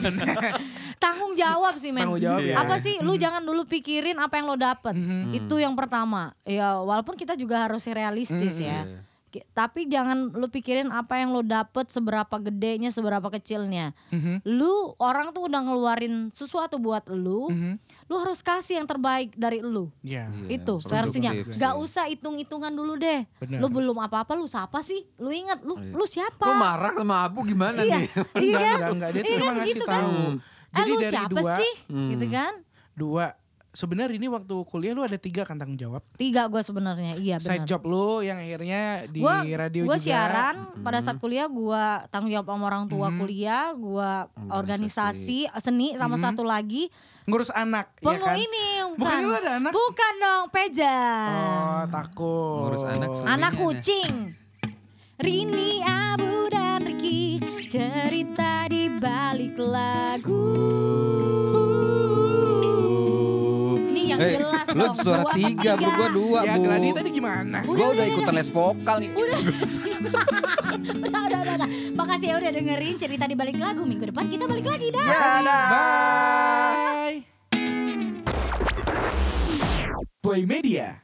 [SPEAKER 3] tanggung jawab sih men
[SPEAKER 1] Tanggung jawab, Mhm. ya.
[SPEAKER 2] Iya.
[SPEAKER 3] apa sih lu jangan dulu pikirin apa yang lo dapet
[SPEAKER 2] Hmm.
[SPEAKER 3] itu yang pertama ya walaupun kita juga harus realistis
[SPEAKER 2] Hmm,
[SPEAKER 3] ya
[SPEAKER 2] iya.
[SPEAKER 3] Ki- tapi jangan lu pikirin apa yang lo dapet seberapa gedenya seberapa kecilnya
[SPEAKER 1] Mhm,
[SPEAKER 3] lu orang tuh udah ngeluarin sesuatu buat lu
[SPEAKER 1] Mhm.
[SPEAKER 3] lu harus kasih yang terbaik dari lu
[SPEAKER 1] Iya.
[SPEAKER 3] itu
[SPEAKER 2] produktif
[SPEAKER 3] versinya
[SPEAKER 2] sih.
[SPEAKER 3] gak usah hitung-hitungan dulu deh
[SPEAKER 1] Benar.
[SPEAKER 3] lu belum apa-apa lu siapa sih lu inget lu lu siapa
[SPEAKER 2] Lo marah sama Abu gimana
[SPEAKER 3] iya
[SPEAKER 2] nih?
[SPEAKER 1] Enggak,
[SPEAKER 3] iya kan
[SPEAKER 1] enggak, enggak. Dia
[SPEAKER 3] iya
[SPEAKER 1] cuma
[SPEAKER 3] kan
[SPEAKER 1] ngasih
[SPEAKER 3] begitu kan
[SPEAKER 1] tahu.
[SPEAKER 3] eh
[SPEAKER 1] Jadi
[SPEAKER 3] lu
[SPEAKER 1] dari
[SPEAKER 3] siapa
[SPEAKER 1] dua, hmm.
[SPEAKER 3] sih gitu kan
[SPEAKER 1] dua. Sebenarnya ini waktu kuliah lu ada tiga kan tanggung jawab.
[SPEAKER 3] tiga gue sebenarnya iya
[SPEAKER 1] Side
[SPEAKER 3] benar
[SPEAKER 1] job lu yang akhirnya di
[SPEAKER 3] gue
[SPEAKER 1] radio juga.
[SPEAKER 3] siaran pada saat kuliah gue tanggung jawab sama
[SPEAKER 1] Hmm.
[SPEAKER 3] orang tua kuliah gue organisasi seni sama satu lagi
[SPEAKER 1] Ngurus anak, ya
[SPEAKER 3] pengu
[SPEAKER 1] Hmm. kan?
[SPEAKER 3] ini
[SPEAKER 1] Bukan
[SPEAKER 3] bukan
[SPEAKER 1] lu ada anak?
[SPEAKER 3] bukan dong pejan
[SPEAKER 1] Oh, takut.
[SPEAKER 2] Ngurus anak suami. Ini
[SPEAKER 3] Anak
[SPEAKER 2] aneh.
[SPEAKER 3] kucing. Rini, Abu, dan Riki cerita di balik lagu. Ini yang
[SPEAKER 2] Eh,
[SPEAKER 3] jelas
[SPEAKER 2] lo
[SPEAKER 3] dong.
[SPEAKER 2] suara
[SPEAKER 3] Dua apa
[SPEAKER 2] tiga, Bu. Gua dua,
[SPEAKER 1] Ya,
[SPEAKER 2] Bu.
[SPEAKER 1] Gladi tadi gimana?
[SPEAKER 2] Gue udah ikutan les vokal nih.
[SPEAKER 3] Udah, udah, udah, udah, udah. Makasih ya udah dengerin cerita di balik lagu. Minggu depan kita balik lagi dah.
[SPEAKER 2] Ya,
[SPEAKER 1] Bye. Play Media.